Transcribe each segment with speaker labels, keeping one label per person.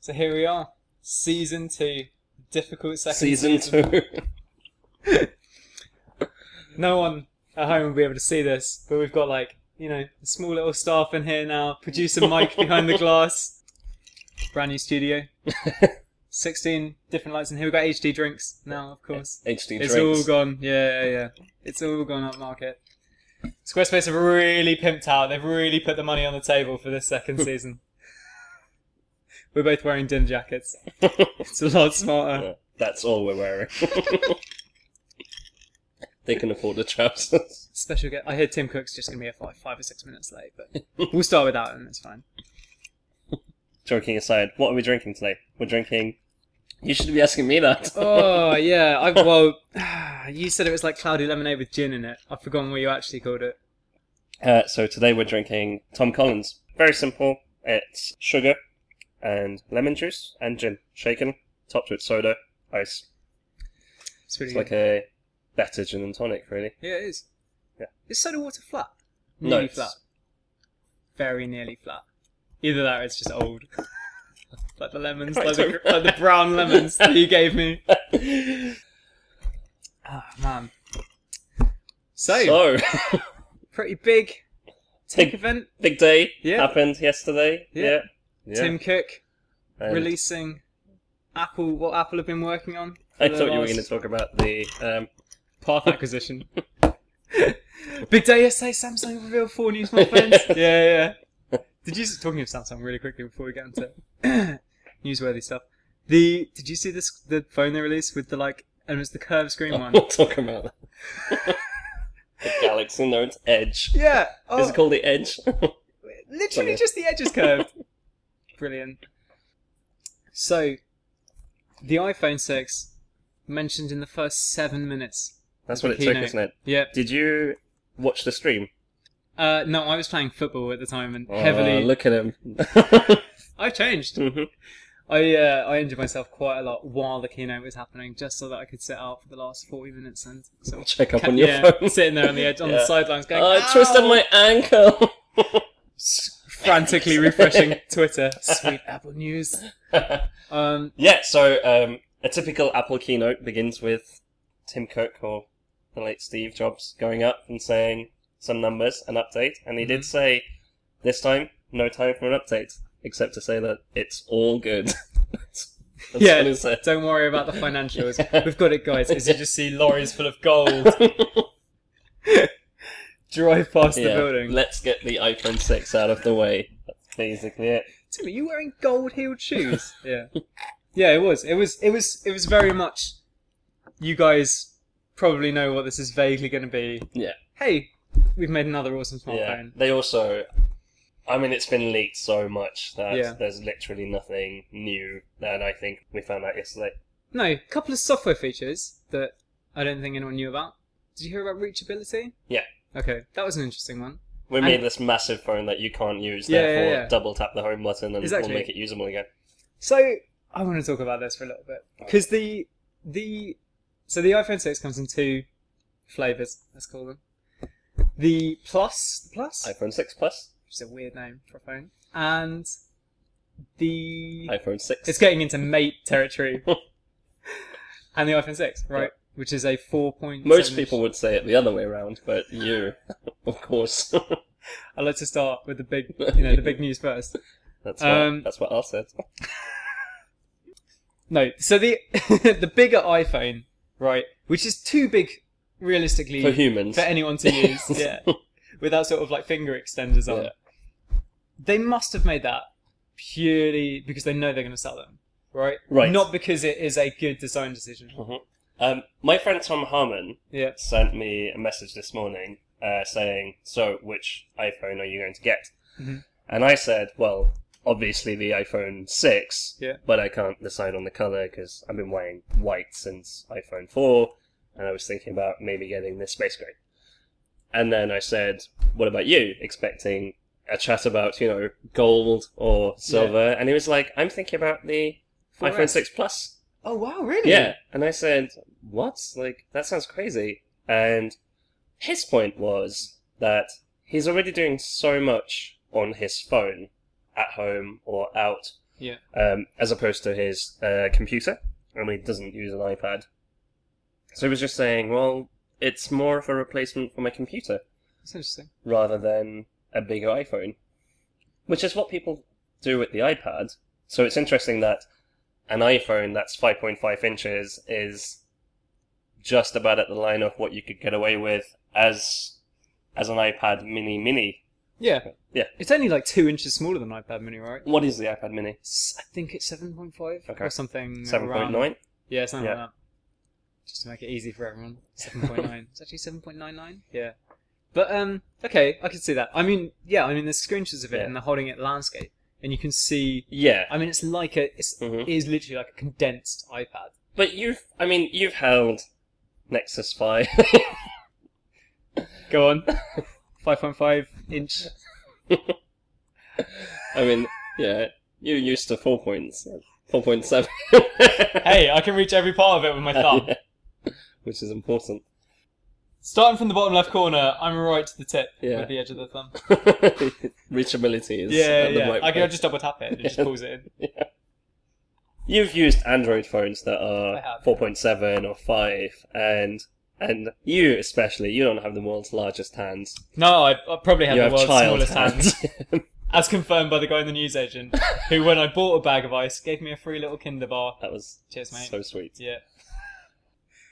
Speaker 1: So here we are, season two, difficult second
Speaker 2: Season two.
Speaker 1: No one at home will be able to see this, but we've got like you know a small little staff in here now. Producer Mike behind the glass. Brand new studio. Sixteen different lights in here. We've got HD drinks now, of course.
Speaker 2: HD
Speaker 1: It's all
Speaker 2: drinks.
Speaker 1: gone. Yeah, yeah, yeah. It's all gone up market. Squarespace have really pimped out. They've really put the money on the table for this second season. We're both wearing din jackets. It's a lot smarter.
Speaker 2: Yeah, That's all we're wearing. they can afford the trousers.
Speaker 1: Special guest. I hear Tim Cook's just going to be here for like five or six minutes late, but we'll start with that and it's fine.
Speaker 2: Joking aside, what are we drinking today? We're drinking. You should be asking me that.
Speaker 1: Oh, yeah. I, well, you said it was like cloudy lemonade with gin in it. I've forgotten what you actually called it.
Speaker 2: Uh, so today we're drinking Tom Collins. Very simple. It's sugar and lemon juice and gin shaken, topped with soda, ice.
Speaker 1: It's really
Speaker 2: It's
Speaker 1: good.
Speaker 2: like a better gin and tonic, really.
Speaker 1: Yeah, it is.
Speaker 2: Yeah.
Speaker 1: Is soda water flat?
Speaker 2: No,
Speaker 1: Nearly
Speaker 2: it's-
Speaker 1: flat. Very nearly flat. Either that or it's just old. like the lemons,
Speaker 2: I
Speaker 1: like the,
Speaker 2: don't-
Speaker 1: like the brown lemons that you gave me. Ah, man. So,
Speaker 2: so
Speaker 1: pretty big tech
Speaker 2: Big-
Speaker 1: event.
Speaker 2: big day
Speaker 1: Yeah.
Speaker 2: happened yesterday.
Speaker 1: Yeah.
Speaker 2: Yeah. Yeah.
Speaker 1: Tim Cook
Speaker 2: And
Speaker 1: releasing Apple, what Apple have been working on. for
Speaker 2: I
Speaker 1: the
Speaker 2: thought you were
Speaker 1: last-
Speaker 2: going to talk about the um,
Speaker 1: Path acquisition. Big day yesterday. Samsung revealed four new smartphones. yeah, yeah. yeah. Did you talking of Samsung really quickly before we get into newsworthy stuff? The did you see this the phone they released with the like and it was the curved screen one?
Speaker 2: We'll talk about that. the Galaxy Note Edge.
Speaker 1: yeah.
Speaker 2: Is
Speaker 1: Oh,
Speaker 2: it called the Edge?
Speaker 1: literally just the edge is curved. Brilliant. So, the iPhone six mentioned in the first seven minutes.
Speaker 2: That's
Speaker 1: The
Speaker 2: what it took,
Speaker 1: keynote.
Speaker 2: isn't it?
Speaker 1: Yep.
Speaker 2: Did you watch the stream?
Speaker 1: Uh, no, I was playing football at the time and
Speaker 2: Oh,
Speaker 1: heavily.
Speaker 2: look at him.
Speaker 1: I changed.
Speaker 2: Mhm.
Speaker 1: I uh, I injured myself quite a lot while the keynote was happening, just so that I could sit out for the last forty minutes and sort of
Speaker 2: Check up on your
Speaker 1: yeah,
Speaker 2: phone.
Speaker 1: sitting there on the edge on
Speaker 2: Yeah.
Speaker 1: the sidelines, going
Speaker 2: I twisted
Speaker 1: "Ow!"
Speaker 2: my ankle.
Speaker 1: frantically refreshing Twitter. Sweet Apple News. Um,
Speaker 2: yeah, so um, a typical Apple keynote begins with Tim Cook or the late Steve Jobs going up and saying some numbers, an update, and he
Speaker 1: Mm-hmm.
Speaker 2: did say this time no time for an update, except to say that it's all good. That's
Speaker 1: Yeah.
Speaker 2: what he said.
Speaker 1: don't worry about the financials.
Speaker 2: Yeah.
Speaker 1: We've got it, guys. As you just see lorries full of gold drive past
Speaker 2: Yeah,
Speaker 1: the building.
Speaker 2: Let's get the iPhone 6 out of the way. That's basically it.
Speaker 1: Tim, are you wearing gold heeled shoes? yeah. Yeah, it was. It was it was it was very much you guys probably know what this is vaguely gonna be.
Speaker 2: Yeah.
Speaker 1: Hey, we've made another awesome
Speaker 2: Yeah.
Speaker 1: smartphone.
Speaker 2: They also, I mean, it's been leaked so much that
Speaker 1: Yeah.
Speaker 2: there's literally nothing new. And I think we found out yesterday.
Speaker 1: No, a couple of software features that I don't think anyone knew about. Did you hear about reachability?
Speaker 2: Yeah.
Speaker 1: Okay, that was an interesting one.
Speaker 2: We
Speaker 1: And-
Speaker 2: made this massive phone that you can't use,
Speaker 1: Yeah, yeah,
Speaker 2: therefore
Speaker 1: yeah.
Speaker 2: double tap the home button and
Speaker 1: Exactly.
Speaker 2: we'll make it usable again.
Speaker 1: So I want to talk about this for a little bit because the the so the iPhone six comes in two flavors. Let's call them the plus plus
Speaker 2: iPhone 6 Plus,
Speaker 1: which is a weird name for a phone. And the
Speaker 2: iPhone 6.
Speaker 1: it's getting into mate territory. and the iPhone six, right? Which is a four point.
Speaker 2: Most people would say it the other way around, but you, of course.
Speaker 1: I like to start with the big, you know, the big news first.
Speaker 2: that's, what,
Speaker 1: Um,
Speaker 2: that's what I said.
Speaker 1: No, so the the bigger iPhone, right, which is too big, realistically,
Speaker 2: For humans.
Speaker 1: for anyone to use. yeah, without sort of like finger extenders on.
Speaker 2: Yeah.
Speaker 1: They must have made that purely because they know they're going to sell them, right?
Speaker 2: Right.
Speaker 1: Not because it is a good design decision.
Speaker 2: Um, my friend Tom Harmon
Speaker 1: Yeah.
Speaker 2: sent me a message this morning uh, saying, "So, which iPhone are you going to get?"
Speaker 1: Mhm.
Speaker 2: And I said, "Well, obviously the iPhone six,
Speaker 1: Yeah.
Speaker 2: but I can't decide on the color because I've been wearing white since iPhone four, and I was thinking about maybe getting this space gray." And then I said, "What about you?" Expecting a chat about you know gold or silver, and he was like, "I'm thinking about the
Speaker 1: 4S.
Speaker 2: iPhone six plus."
Speaker 1: Oh wow, really?
Speaker 2: Yeah. And I said, What? Like, that sounds crazy. And his point was that he's already doing so much on his phone at home or out
Speaker 1: Yeah.
Speaker 2: Um, as opposed to his uh, computer, and he doesn't use an iPad. So he was just saying, well, it's more of a replacement for my computer
Speaker 1: That's interesting.
Speaker 2: rather than a bigger iPhone, which is what people do with the iPad. So it's interesting that an iPhone that's 5.5 inches is just about at the line of what you could get away with as as an iPad Mini Mini.
Speaker 1: Yeah.
Speaker 2: Yeah.
Speaker 1: It's only like two inches smaller than iPad Mini, right?
Speaker 2: What is the iPad Mini?
Speaker 1: S- I think it's 7.5
Speaker 2: Okay.
Speaker 1: or something. around-
Speaker 2: 7.9.
Speaker 1: Yeah, something
Speaker 2: Yeah.
Speaker 1: like that. Just to make it easy for everyone. 7.9. it's actually 7.99? Yeah. But, um, okay, I can see that. I mean, yeah, I mean, there's screenshots of it
Speaker 2: Yeah.
Speaker 1: and they're holding it landscape. And you can see,
Speaker 2: Yeah.
Speaker 1: I mean, it's like a, it's,
Speaker 2: Mhm.
Speaker 1: it is literally like a condensed iPad.
Speaker 2: But you've, I mean, you've held Nexus 5.
Speaker 1: Go on. 5.5 inch.
Speaker 2: I mean, yeah, you're used to 4.7. 4.7.
Speaker 1: Hey, I can reach every part of it with my thumb.
Speaker 2: Which is important.
Speaker 1: Starting from the bottom left corner, I'm right to the tip
Speaker 2: Yeah.
Speaker 1: with the edge of the thumb.
Speaker 2: Reachability is
Speaker 1: Yeah,
Speaker 2: at the
Speaker 1: yeah.
Speaker 2: right
Speaker 1: I can
Speaker 2: place.
Speaker 1: just double tap it and it just pulls it in.
Speaker 2: You've used Android phones that
Speaker 1: I
Speaker 2: are
Speaker 1: have.
Speaker 2: 4.7 or 5, and and you especially, you don't have the world's largest hands.
Speaker 1: No, I, I probably have
Speaker 2: you
Speaker 1: the
Speaker 2: have
Speaker 1: world's
Speaker 2: child
Speaker 1: smallest hands.
Speaker 2: hands.
Speaker 1: as confirmed by the guy in the newsagent, who, when I bought a bag of ice, gave me a free little Kinder bar.
Speaker 2: that was
Speaker 1: Cheers, mate.
Speaker 2: so sweet.
Speaker 1: yeah.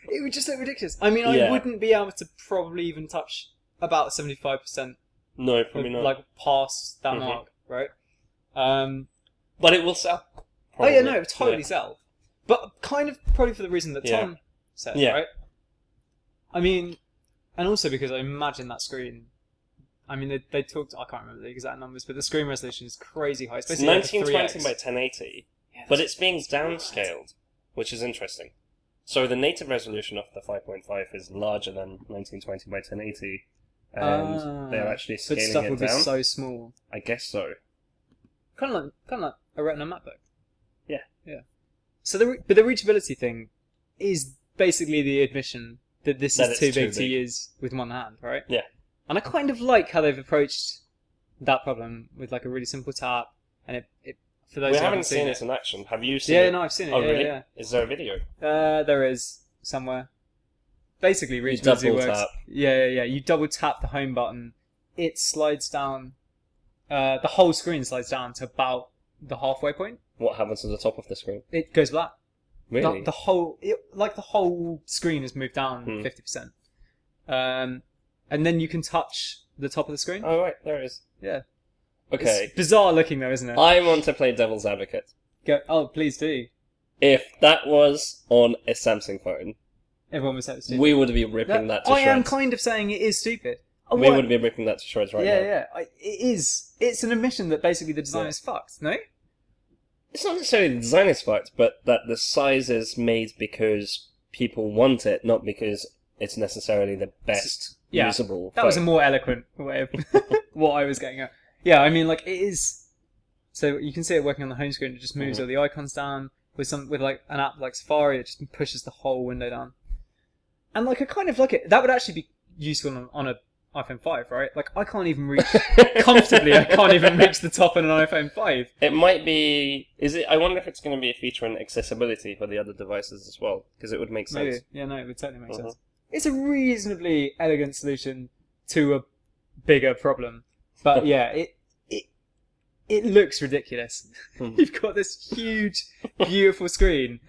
Speaker 1: It would just look ridiculous. I mean, I
Speaker 2: Yeah.
Speaker 1: wouldn't be able to probably even touch about seventy-five percent,
Speaker 2: No, probably not.
Speaker 1: like past that
Speaker 2: Mhm.
Speaker 1: mark, right? Um,
Speaker 2: but it will sell.
Speaker 1: oh yeah,
Speaker 2: Probably.
Speaker 1: no, it totally sell, but kind of probably for the reason that
Speaker 2: Yeah.
Speaker 1: Tom said,
Speaker 2: Yeah.
Speaker 1: right? I mean, and also because I imagine that screen. I mean, they, they talked. I can't remember the exact numbers, but the screen resolution is crazy high. It's
Speaker 2: It's
Speaker 1: basically like a
Speaker 2: 1920
Speaker 1: 3x.
Speaker 2: by 1080,
Speaker 1: Yeah,
Speaker 2: but
Speaker 1: that's-
Speaker 2: it's being downscaled, which is interesting. So the native resolution of the 5.5 is larger than 1920 by 1080, and
Speaker 1: Ah.
Speaker 2: they're actually
Speaker 1: but
Speaker 2: scaling
Speaker 1: stuff
Speaker 2: it
Speaker 1: would
Speaker 2: down.
Speaker 1: be so small.
Speaker 2: I guess so.
Speaker 1: Kind of like, kind of like a Retina MacBook.
Speaker 2: Yeah.
Speaker 1: yeah. So the re- but the reachability thing is basically the admission that this
Speaker 2: That
Speaker 1: is
Speaker 2: it's
Speaker 1: too
Speaker 2: too
Speaker 1: big to
Speaker 2: big.
Speaker 1: use with one hand, right?
Speaker 2: Yeah.
Speaker 1: And I kind of like how they've approached that problem with like a really simple tap, and it, it for those
Speaker 2: we
Speaker 1: who
Speaker 2: haven't seen
Speaker 1: seen
Speaker 2: it in action. Have you seen
Speaker 1: Yeah,
Speaker 2: it?
Speaker 1: no, I've seen it.
Speaker 2: Oh,
Speaker 1: yeah,
Speaker 2: really?
Speaker 1: yeah.
Speaker 2: Is there a video?
Speaker 1: Uh, there is somewhere. Basically, reachability
Speaker 2: double
Speaker 1: works.
Speaker 2: tap.
Speaker 1: Yeah, yeah, yeah. You double tap the home button. It slides down. Uh, the whole screen slides down to about the halfway point.
Speaker 2: What happens to the top of the screen?
Speaker 1: It goes black. The-
Speaker 2: Really?
Speaker 1: The, whole, it, like the whole screen has moved down
Speaker 2: Hmm.
Speaker 1: fifty percent. Um, and then you can touch the top of the screen.
Speaker 2: Oh, right, there it is.
Speaker 1: Yeah. It's
Speaker 2: Okay.
Speaker 1: bizarre looking though, isn't it?
Speaker 2: I want to play devil's advocate.
Speaker 1: Go. Oh, please do.
Speaker 2: If that was on a Samsung phone,
Speaker 1: Everyone was so stupid.
Speaker 2: we would be ripping that, to
Speaker 1: I am
Speaker 2: shreds.
Speaker 1: kind of saying it is stupid. I
Speaker 2: we
Speaker 1: want-
Speaker 2: would be ripping that to shreds right
Speaker 1: yeah,
Speaker 2: now.
Speaker 1: yeah. I, it is. It's an admission that basically the design
Speaker 2: Yeah.
Speaker 1: is fucked. No.
Speaker 2: it's not necessarily the design is fucked, but that the size is made because people want it, not because it's necessarily the best
Speaker 1: Yeah.
Speaker 2: usable.
Speaker 1: That was a
Speaker 2: phone.
Speaker 1: more eloquent way of what I was getting at. Yeah, I mean, like it is. So you can see it working on the home screen. It just moves
Speaker 2: Mm-hmm.
Speaker 1: all the icons down. With some, with like an app like Safari, it just pushes the whole window down. And like I kind of like it. That would actually be useful on, on a iPhone five, right? Like I can't even reach comfortably. I can't even reach the top in an iPhone five.
Speaker 2: It might be. Is it? I wonder if it's going to be a feature in accessibility for the other devices as well, because it would make sense.
Speaker 1: Maybe. Yeah, no, it would certainly make
Speaker 2: Mhm.
Speaker 1: sense. It's a reasonably elegant solution to a bigger problem. But yeah, it it it looks ridiculous.
Speaker 2: Hmm.
Speaker 1: You've got this huge, beautiful screen,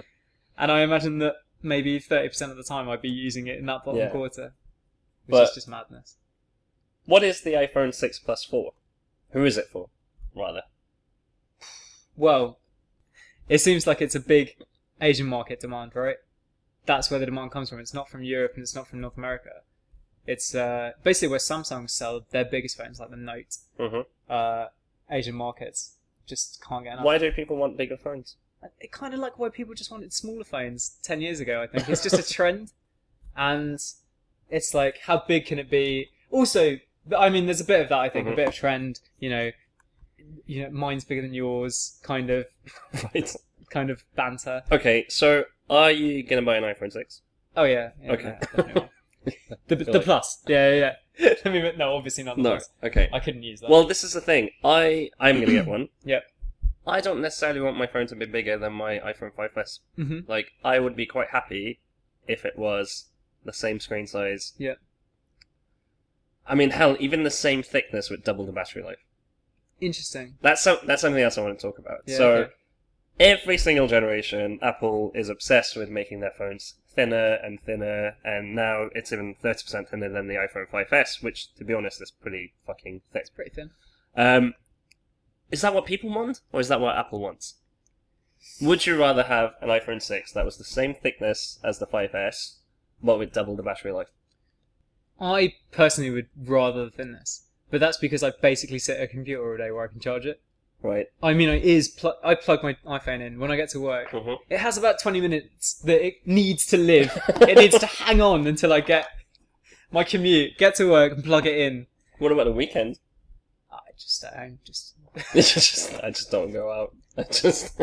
Speaker 1: and I imagine that maybe thirty percent of the time I'd be using it in that bottom
Speaker 2: Yeah.
Speaker 1: quarter. Which
Speaker 2: But-
Speaker 1: is just madness.
Speaker 2: What is the iPhone six plus for? Who is it for? Rather.
Speaker 1: Well, it seems like it's a big Asian market demand, right? That's where the demand comes from. It's not from Europe and it's not from North America. It's uh, basically where Samsung sell their biggest phones, like the Note.
Speaker 2: hmm
Speaker 1: Uh, Asian markets just can't get enough.
Speaker 2: Why do people want bigger phones?
Speaker 1: It kind of like why people just wanted smaller phones ten years ago. I think it's just a trend, and it's like how big can it be? Also, th- I mean, there's a bit of that. I think
Speaker 2: Mhm.
Speaker 1: a bit of trend. You know, you know, mine's bigger than yours. Kind of,
Speaker 2: right.
Speaker 1: kind of banter.
Speaker 2: Okay. So, are you going to buy an iPhone six?
Speaker 1: Oh yeah. yeah,
Speaker 2: Okay.
Speaker 1: yeah, definitely. the the
Speaker 2: Like-
Speaker 1: plus. Yeah, yeah. yeah. I mean, no, obviously not the
Speaker 2: No.
Speaker 1: plus.
Speaker 2: Okay.
Speaker 1: I couldn't use that.
Speaker 2: Well, this is the thing. I I'm gonna get one.
Speaker 1: Yep.
Speaker 2: I don't necessarily want my phone to be bigger than my iPhone 5S.
Speaker 1: Mm-hmm.
Speaker 2: Like, I would be quite happy if it was the same screen size.
Speaker 1: Yeah.
Speaker 2: I mean, hell, even the same thickness would double the battery life.
Speaker 1: Interesting.
Speaker 2: That's some, that's something else I want to talk about.
Speaker 1: Yeah,
Speaker 2: so,
Speaker 1: okay.
Speaker 2: every single generation, Apple is obsessed with making their phones thinner and thinner, and now it's even 30% thinner than the iPhone 5S, which, to be honest, is pretty fucking thick.
Speaker 1: Pretty thin.
Speaker 2: Um, is that what people want, or is that what Apple wants? Would you rather have an iPhone 6 that was the same thickness as the 5S, but with double the battery life?
Speaker 1: I personally would rather the thinness, but that's because I basically sit at a computer all day where I can charge it.
Speaker 2: Right.
Speaker 1: I mean, it is. Pl- I plug my iPhone in when I get to work.
Speaker 2: Mhm.
Speaker 1: It has about twenty minutes that it needs to live. it needs to hang on until I get my commute, get to work, and plug it in.
Speaker 2: What about the weekend?
Speaker 1: I just at home, just,
Speaker 2: It's just- I just don't go out. I just.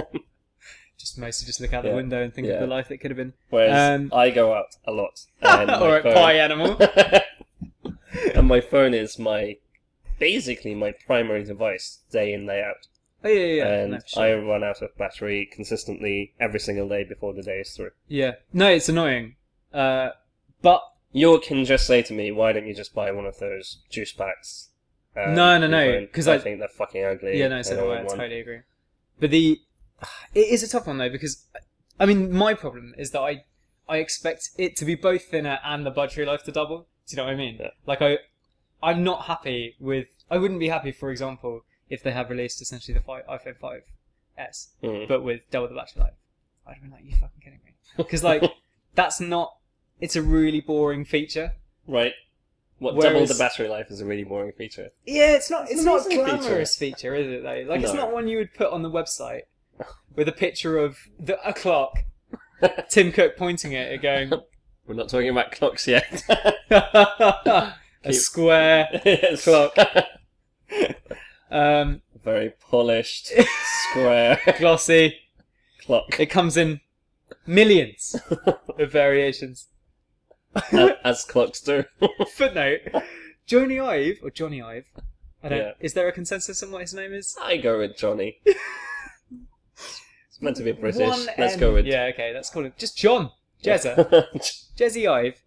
Speaker 1: just mostly just look out the
Speaker 2: Yeah.
Speaker 1: window and think
Speaker 2: Yeah.
Speaker 1: of the life that could have been.
Speaker 2: Whereas
Speaker 1: Um,
Speaker 2: I go out a lot. And my
Speaker 1: All right,
Speaker 2: phone-
Speaker 1: pie animal.
Speaker 2: and my phone is my basically my primary device day in day out.
Speaker 1: Oh, yeah, yeah, yeah.
Speaker 2: and
Speaker 1: No, for sure.
Speaker 2: I run out of battery consistently every single day before the day is through.
Speaker 1: Yeah. No, it's annoying. Uh, but
Speaker 2: You can just say to me, why don't you just buy one of those juice packs? um,
Speaker 1: No, no,
Speaker 2: for your
Speaker 1: no,
Speaker 2: phone?
Speaker 1: 'cause
Speaker 2: I,
Speaker 1: I-
Speaker 2: think they're fucking ugly.
Speaker 1: yeah, no, so
Speaker 2: I
Speaker 1: do
Speaker 2: don't
Speaker 1: I. I
Speaker 2: want one.
Speaker 1: totally agree. But the it is a tough one though because I mean my problem is that I I expect it to be both thinner and the battery life to double. Do you know what I mean?
Speaker 2: Yeah.
Speaker 1: Like I I'm not happy with I wouldn't be happy for example if they have released essentially the fi iPhone 5s
Speaker 2: Mm.
Speaker 1: but with double the battery life. I'd be like, you fucking kidding me? Because like that's not. It's a really boring feature.
Speaker 2: Hmm. Right. What double
Speaker 1: Whereas-
Speaker 2: the battery life is a really boring feature.
Speaker 1: Yeah, it's not. It's,
Speaker 2: It's an
Speaker 1: not a
Speaker 2: amazing feature.
Speaker 1: glamorous feature, is it? Though, like, it's
Speaker 2: No.
Speaker 1: not one you would put on the website with a picture of the, a clock, Tim Cook pointing at it, going
Speaker 2: We're not talking about clocks yet.
Speaker 1: a
Speaker 2: Keep-
Speaker 1: square.
Speaker 2: Yes.
Speaker 1: Clock. Um,
Speaker 2: Very polished, square
Speaker 1: glossy.
Speaker 2: clock.
Speaker 1: It comes in millions of variations.
Speaker 2: as, as clocks do.
Speaker 1: Footnote: Johnny Ive or Johnny Ive. I don't.
Speaker 2: Yeah.
Speaker 1: Is there a consensus on what his name is?
Speaker 2: I go with Johnny. it's meant to be British.
Speaker 1: One
Speaker 2: Let's
Speaker 1: N.
Speaker 2: go with
Speaker 1: Yeah, okay, let's call him just John. Jezza. Jesse Ive,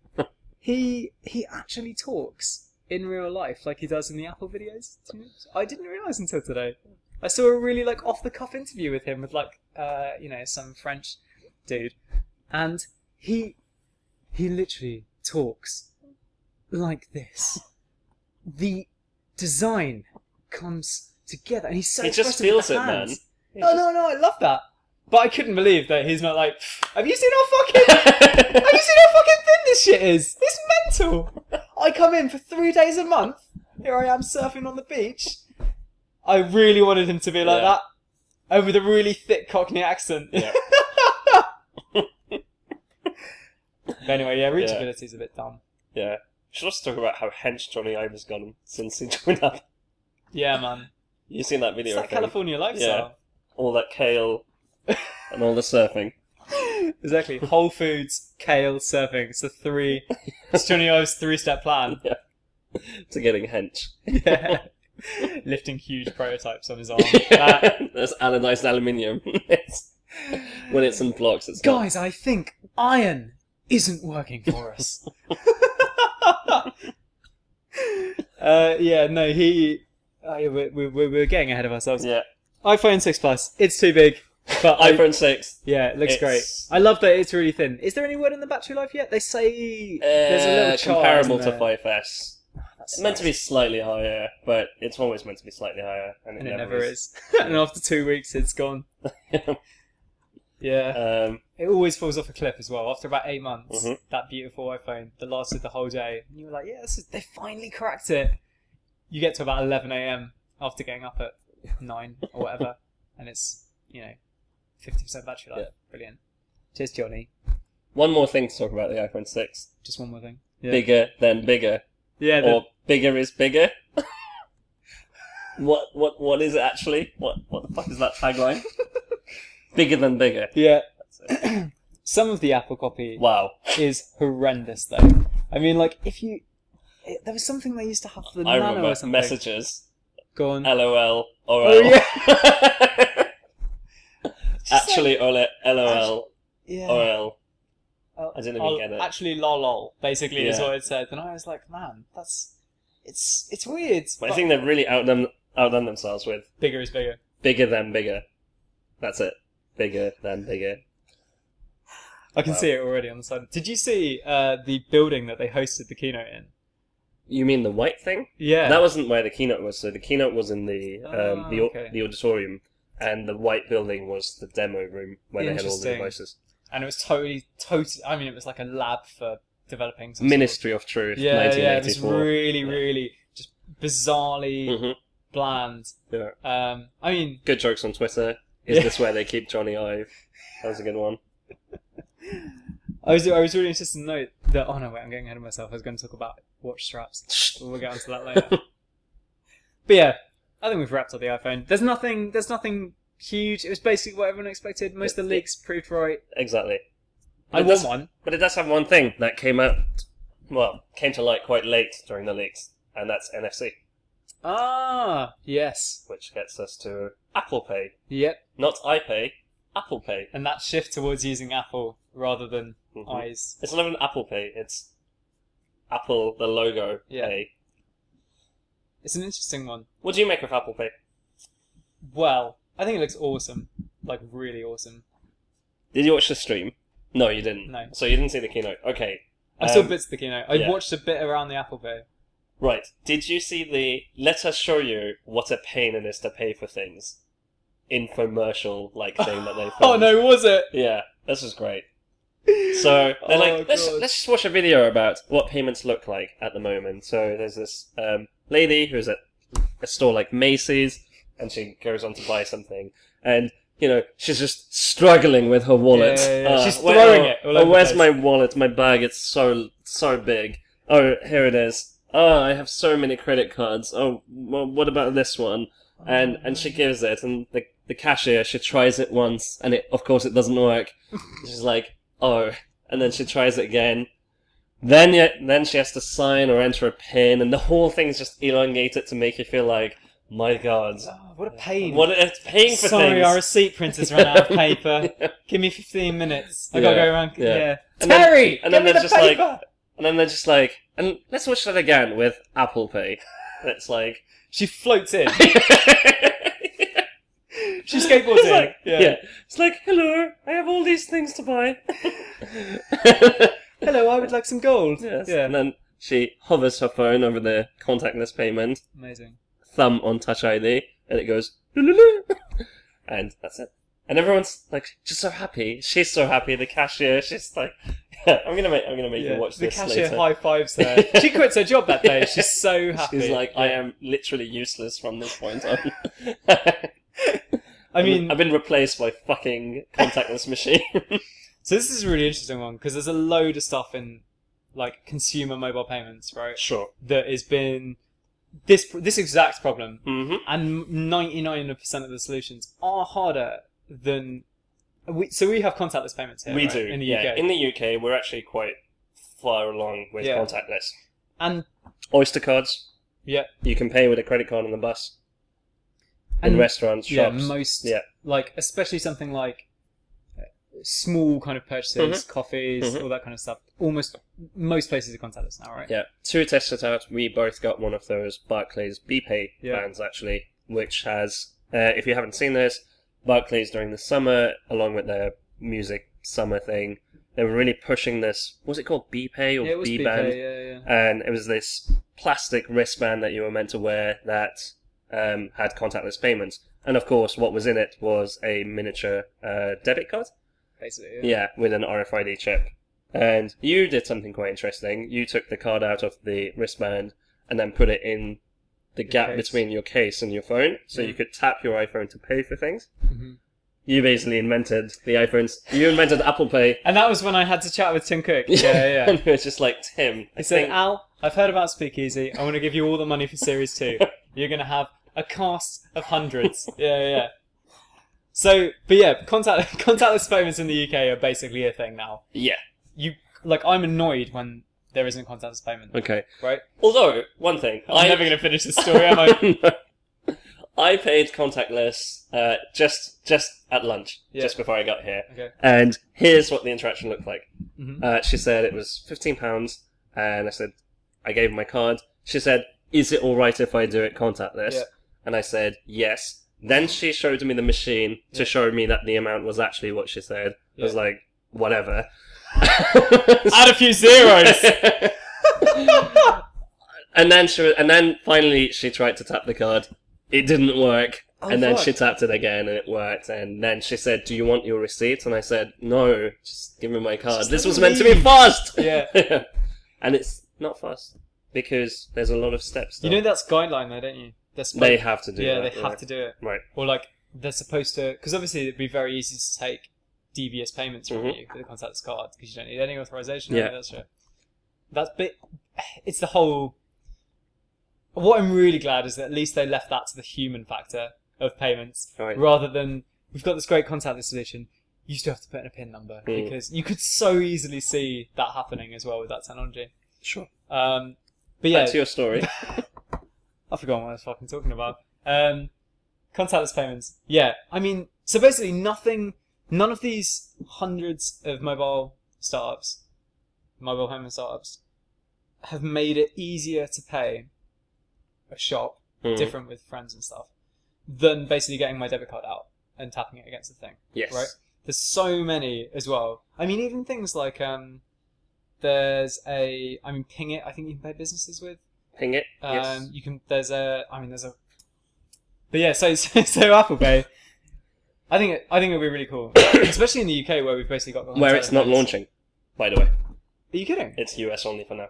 Speaker 1: he he actually talks in real life like he does in the Apple videos. Do you know- I didn't realize until today. I saw a really like off the cuff interview with him with like uh, you know some French dude, and he he literally talks like this. The design comes together, and he's so
Speaker 2: He just
Speaker 1: expressive with
Speaker 2: feels
Speaker 1: the
Speaker 2: it, man.
Speaker 1: hands. No, no, no! I love that, but I couldn't believe that he's not like. Have you seen our fucking? Have you seen how fucking thin this shit is? It's mental. I come in for three days a month. Here I am surfing on the beach. I really wanted him to be like
Speaker 2: Yeah.
Speaker 1: that, and with a really thick Cockney accent.
Speaker 2: Yeah.
Speaker 1: But anyway, yeah,
Speaker 2: Yeah.
Speaker 1: reachability is a bit dumb.
Speaker 2: yeah. Should also talk about how hench Johnny Ive has gone since he joined up.
Speaker 1: Yeah, man.
Speaker 2: You've seen that
Speaker 1: It's
Speaker 2: video
Speaker 1: that
Speaker 2: of him.
Speaker 1: California lifestyle.
Speaker 2: all that kale and all the surfing.
Speaker 1: Exactly. Whole Foods, kale, surfing. It's the three. It's Johnny Ive's three-step plan.
Speaker 2: To getting hench.
Speaker 1: Yeah. Lifting huge prototypes on his arm. That-
Speaker 2: That's anodized aluminium. It's- when it's in blocks, it's not.
Speaker 1: Guys, I think iron isn't working for us. uh, yeah, no, he. Uh, yeah, we're, we're, we're- we're getting ahead of ourselves.
Speaker 2: Yeah.
Speaker 1: iPhone 6 Plus, it's too big. But I,
Speaker 2: iPhone 6.
Speaker 1: yeah, it looks great.
Speaker 2: It's-
Speaker 1: I love that it's really thin. Is there any word on the battery life yet? They say there's a little
Speaker 2: Uh,
Speaker 1: chart,
Speaker 2: comparable
Speaker 1: isn't
Speaker 2: to
Speaker 1: there?
Speaker 2: 5S. It's
Speaker 1: That's
Speaker 2: meant to
Speaker 1: nice.
Speaker 2: be slightly higher, but it's always meant to be slightly higher, and it,
Speaker 1: and it never is. and after two weeks, it's gone. Yeah.
Speaker 2: um,
Speaker 1: It always falls off a cliff as well. After about eight months,
Speaker 2: Mhm.
Speaker 1: that beautiful iPhone that lasted the whole day, and you were like, "Yeah, this is, they finally cracked it." You get to about eleven a.m. after getting up at nine or whatever, and it's you know fifty percent battery life.
Speaker 2: Yeah.
Speaker 1: Brilliant. Cheers, Johnny.
Speaker 2: one more thing to talk about the iPhone 6.
Speaker 1: Just one more thing. Yeah.
Speaker 2: Bigger than bigger,
Speaker 1: Yeah. the-
Speaker 2: or bigger is bigger. what what what is it actually? What what the fuck is that tagline? bigger than bigger.
Speaker 1: yeah. Some of the Apple copy
Speaker 2: Wow.
Speaker 1: is horrendous, though. I mean, like if you, it, there was something they used to have for the
Speaker 2: I
Speaker 1: Nano
Speaker 2: remember
Speaker 1: or something.
Speaker 2: messages.
Speaker 1: Go on.
Speaker 2: LOL. Or
Speaker 1: Oh,
Speaker 2: yeah. Actually, OLED, LOL,
Speaker 3: Actu-
Speaker 1: yeah.
Speaker 2: OL.
Speaker 1: Oh,
Speaker 2: I didn't even
Speaker 1: oh,
Speaker 2: get it.
Speaker 1: Actually, lol, lol, basically is
Speaker 2: Yeah.
Speaker 1: what it said, and I was like, man, that's it's it's weird.
Speaker 2: But I think they've really outdone outdone themselves with
Speaker 1: bigger is bigger.
Speaker 2: bigger than bigger. That's it. Bigger than bigger.
Speaker 1: I can
Speaker 2: Wow.
Speaker 1: see it already on the side. Did you see uh, the building that they hosted the keynote in?
Speaker 2: You mean the white thing?
Speaker 1: Yeah,
Speaker 2: That wasn't where the keynote was. So the keynote was in the um,
Speaker 1: Ah,
Speaker 2: the au-
Speaker 1: okay.
Speaker 2: the auditorium, and the white building was the demo room where they had all the
Speaker 1: Interesting.
Speaker 2: devices.
Speaker 1: and it was totally, totally. I mean, it was like a lab for developing some sort of-
Speaker 2: Ministry of Truth,
Speaker 1: Yeah, yeah, it was
Speaker 2: 1984.
Speaker 1: really,
Speaker 2: Yeah.
Speaker 1: really just bizarrely
Speaker 2: Mhm.
Speaker 1: bland.
Speaker 2: Yeah.
Speaker 1: Um, I mean,
Speaker 2: Good jokes on Twitter. Is
Speaker 1: Yeah.
Speaker 2: this where they keep Johnny Ive? That was a good one.
Speaker 1: I was I was really interested to note that. Oh no, wait, I'm getting ahead of myself. I was going to talk about watch straps. We'll get onto that later. but yeah, I think we've wrapped up the iPhone. There's nothing. There's nothing huge. It was basically what everyone expected. Most of the
Speaker 2: Yeah.
Speaker 1: leaks proved right.
Speaker 2: Exactly.
Speaker 1: I
Speaker 2: It does-
Speaker 1: want one.
Speaker 2: But it does have one thing that came out, well, came to light quite late during the leaks, and that's NFC,
Speaker 1: Ah, yes,
Speaker 2: which gets us to Apple Pay,
Speaker 1: yep.
Speaker 2: not iPay, Apple Pay.
Speaker 1: And that shift towards using Apple rather than
Speaker 2: Mhm.
Speaker 1: eyes.
Speaker 2: It's not even Apple Pay; it's Apple the logo
Speaker 1: Yeah.
Speaker 2: Pay.
Speaker 1: It's an interesting one.
Speaker 2: What do you make of Apple Pay?
Speaker 1: Well, I think it looks awesome. Like really awesome.
Speaker 2: Did you watch the stream? No, you didn't.
Speaker 1: No.
Speaker 2: So you didn't see the keynote. Okay.
Speaker 1: I saw
Speaker 2: Um,
Speaker 1: bits of the keynote. I
Speaker 2: yeah.
Speaker 1: watched a bit around the Apple Pay.
Speaker 2: Right. Did you see the let us show you what a pain it is to pay for things infomercial like thing that they
Speaker 1: oh
Speaker 2: filmed?
Speaker 1: no, was it?
Speaker 2: Yeah, this is great. So
Speaker 1: Oh,
Speaker 2: they're like, let's,
Speaker 1: God.
Speaker 2: let's just watch a video about what payments look like at the moment. So there's this um, lady who's at a store like Macy's, and she goes on to buy something, and you know she's just struggling with her wallet.
Speaker 1: Yeah, yeah, yeah. She's
Speaker 2: where-
Speaker 1: throwing
Speaker 2: oh,
Speaker 1: it all
Speaker 2: oh,
Speaker 1: over the
Speaker 2: where's
Speaker 1: place."
Speaker 2: my wallet? My bag. It's so so big. Oh, here it is. Oh, I have so many credit cards. Oh, well, what about this one? and and she gives it, and the the cashier she tries it once, and it of course it doesn't work. She's like, oh, and then she tries it again. Then yet then she has to sign or enter a pin, and the whole thing's just elongated to make you feel like, my god,
Speaker 1: Oh, what a pain.
Speaker 2: what it's paying for
Speaker 1: Sorry,
Speaker 2: things.
Speaker 1: our receipt printers ran out of paper. Give me 15 minutes. I gotta
Speaker 2: Yeah,
Speaker 1: go around. Yeah.
Speaker 2: yeah. And then-
Speaker 1: Terry!
Speaker 2: and
Speaker 1: give
Speaker 2: then
Speaker 1: me
Speaker 2: they're
Speaker 1: the
Speaker 2: just like-
Speaker 1: paper!
Speaker 2: and then they're just like, and let's watch that again with Apple Pay. And It's like,
Speaker 1: She floats in. She skateboards
Speaker 2: It's
Speaker 1: in.
Speaker 2: like-
Speaker 1: yeah.
Speaker 2: yeah, it's like, hello, I have all these things to buy.
Speaker 1: Hello, I would like some gold.
Speaker 2: Yes.
Speaker 1: Yeah.
Speaker 2: And then she hovers her phone over the contactless payment,
Speaker 1: Amazing.
Speaker 2: thumb on Touch ID, and it goes, "Lululu." and that's it. And everyone's like just so happy. She's so happy. The cashier, she's like, I'm gonna make, I'm gonna make
Speaker 1: Yeah.
Speaker 2: you watch
Speaker 1: the
Speaker 2: this
Speaker 1: cashier
Speaker 2: later.
Speaker 1: high fives her. she quits her job that day. She's so happy.
Speaker 2: She's like, I am literally useless from this point on. I
Speaker 1: I mean,
Speaker 2: I've been replaced by fucking contactless machine.
Speaker 1: so this is a really interesting one because there's a load of stuff in like consumer mobile payments, right?
Speaker 2: sure.
Speaker 1: That has been this this exact problem
Speaker 2: hmm
Speaker 1: and 99% of the solutions are harder than we, so we have contactless payments here
Speaker 2: we
Speaker 1: right,
Speaker 2: do.
Speaker 1: in the
Speaker 2: yeah.
Speaker 1: UK
Speaker 2: In the UK, we're actually quite far along with
Speaker 1: Yeah.
Speaker 2: contactless.
Speaker 1: and
Speaker 2: Oyster cards.
Speaker 1: Yeah.
Speaker 2: You can pay with a credit card on the bus.
Speaker 1: And-
Speaker 2: in restaurants,
Speaker 1: yeah
Speaker 2: shops.
Speaker 1: most
Speaker 2: Yeah.
Speaker 1: like especially something like uh, small kind of purchases coffees
Speaker 2: Mhm.
Speaker 1: all that kind of stuff almost most places are contactless now right
Speaker 2: yeah. To test it out, we both got one of those Barclays BPay
Speaker 1: Yeah.
Speaker 2: plans actually, which has uh, if you haven't seen this, Barclays during the summer, along with their music summer thing, they were really pushing this was it called BPay or
Speaker 1: Yeah, it was
Speaker 2: B
Speaker 1: BPay,
Speaker 2: band?
Speaker 1: yeah, yeah.
Speaker 2: and it was this plastic wristband that you were meant to wear that um, had contactless payments. And of course, what was in it was a miniature uh, debit card.
Speaker 1: Basically, yeah.
Speaker 2: Yeah, with an RFID chip. And you did something quite interesting. You took the card out of the wristband and then put it in the gap
Speaker 1: case.
Speaker 2: between your case and your phone, so
Speaker 1: Yeah.
Speaker 2: you could tap your iPhone to pay for things.
Speaker 1: Mhm.
Speaker 2: You basically invented the iPhones. You invented Apple Pay.
Speaker 1: And that was when I had to chat with Tim Cook. Yeah, yeah.
Speaker 2: and it was just like Tim. I
Speaker 1: He said,
Speaker 2: think-
Speaker 1: Al, I've heard about Speakeasy. I want to give you all the money for Series 2. You're going to have a cast of hundreds. Yeah, yeah, yeah. So, but yeah, contact, contactless payments in the UK are basically a thing now.
Speaker 2: yeah.
Speaker 1: You Like, I'm annoyed when there isn't contactless payment,
Speaker 2: Okay.
Speaker 1: right?
Speaker 2: Although one thing,
Speaker 1: I'm
Speaker 2: I
Speaker 1: never going to finish this story, am I?
Speaker 2: No. I paid contactless uh, just just at lunch,
Speaker 1: Yeah.
Speaker 2: just before I got here.
Speaker 1: Okay.
Speaker 2: And here's what the interaction looked like.
Speaker 1: Mhm.
Speaker 2: Uh, she said it was fifteen pounds, and I said I gave her my card. She said, "Is it all right if I do it contactless?"
Speaker 1: Yeah.
Speaker 2: And I said, "Yes." Then she showed me the machine
Speaker 1: Yeah.
Speaker 2: to show me that the amount was actually what she said. I was
Speaker 1: Yeah.
Speaker 2: like, "Whatever."
Speaker 1: Add a few zeros.
Speaker 2: and then she was, and then finally she tried to tap the card. It didn't work.
Speaker 1: Oh,
Speaker 2: and then
Speaker 1: fuck.
Speaker 2: she tapped it again and it worked. And then she said, "Do you want your receipt?" And I said, "No, just give me my card.
Speaker 1: Just
Speaker 2: this
Speaker 1: let
Speaker 2: was
Speaker 1: me
Speaker 2: meant to be
Speaker 1: leave."
Speaker 2: fast."
Speaker 1: yeah.
Speaker 2: and it's not fast because there's a lot of steps.
Speaker 1: You
Speaker 2: though.
Speaker 1: know that's guideline though, don't you? They're supposed,
Speaker 2: they have to do.
Speaker 1: yeah,
Speaker 2: that,
Speaker 1: they have to do it.
Speaker 2: Right.
Speaker 1: Or like they're supposed to, because obviously it'd be very easy to take devious payments from
Speaker 2: Mhm.
Speaker 1: you with a contactless card because you don't need any authorization.
Speaker 2: Yeah.
Speaker 1: Yeah, that's right. That's bit. It's the whole. What I'm really glad is that at least they left that to the human factor of payments
Speaker 2: Right.
Speaker 1: rather than we've got this great contactless solution. You still have to put in a PIN number
Speaker 2: Mm.
Speaker 1: because you could so easily see that happening as well with that technology.
Speaker 2: Sure.
Speaker 1: Um, but
Speaker 2: Yeah.
Speaker 1: yeah,
Speaker 2: Back to your story.
Speaker 1: I forgot what I was fucking talking about. Um, contactless payments. Yeah, I mean, so basically, nothing, none of these hundreds of mobile startups, mobile payment startups, have made it easier to pay a shop,
Speaker 2: Hmm.
Speaker 1: different with friends and stuff, than basically getting my debit card out and tapping it against the thing
Speaker 2: Yes.
Speaker 1: right? There's so many as well. I mean, even things like um, there's a, I mean, Ping It. I think you can pay businesses with.
Speaker 2: Ping it.
Speaker 1: Um,
Speaker 2: yes.
Speaker 1: You can. There's a. I mean, there's a. But yeah, so so, so Apple Pay. I think it, I think it'll be really cool, especially in the UK where we've basically got
Speaker 2: Where it's not
Speaker 1: contactless.
Speaker 2: launching, by the way.
Speaker 1: Are you kidding?
Speaker 2: It's US only for now.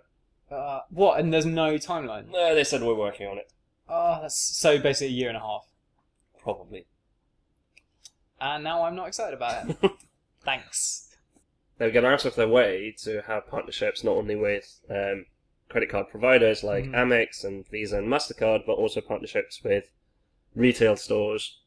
Speaker 1: Uh, what? And there's no timeline.
Speaker 2: No, they said we're working on it.
Speaker 1: Oh, that's so basically a year and a half.
Speaker 2: Probably.
Speaker 1: And now I'm not excited about it. Thanks.
Speaker 2: they're going out of their way to have partnerships not only with um, credit card providers like
Speaker 1: Mhm.
Speaker 2: Amex and Visa and MasterCard, but also partnerships with retail stores.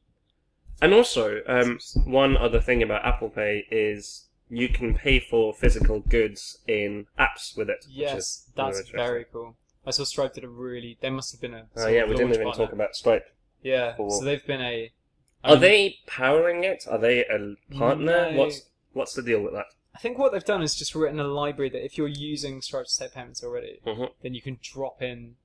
Speaker 2: And also, um, one other thing about Apple Pay is you can pay for physical goods in apps with it. which
Speaker 1: Yes,
Speaker 2: is really
Speaker 1: that's
Speaker 2: interesting.
Speaker 1: very cool. I saw Stripe did a really. They must have been a.
Speaker 2: Oh,
Speaker 1: sort
Speaker 2: yeah,
Speaker 1: of
Speaker 2: we didn't
Speaker 1: launch
Speaker 2: even
Speaker 1: partner.
Speaker 2: talk about Stripe.
Speaker 1: Yeah,
Speaker 2: for-
Speaker 1: so they've been a. um, I
Speaker 2: Are
Speaker 1: mean,
Speaker 2: they powering it? Are they a partner?
Speaker 1: No.
Speaker 2: What's what's the deal with that?
Speaker 1: I think what they've done is just written a library that if you're using Stripe to take payments already,
Speaker 2: Mhm.
Speaker 1: then you can drop in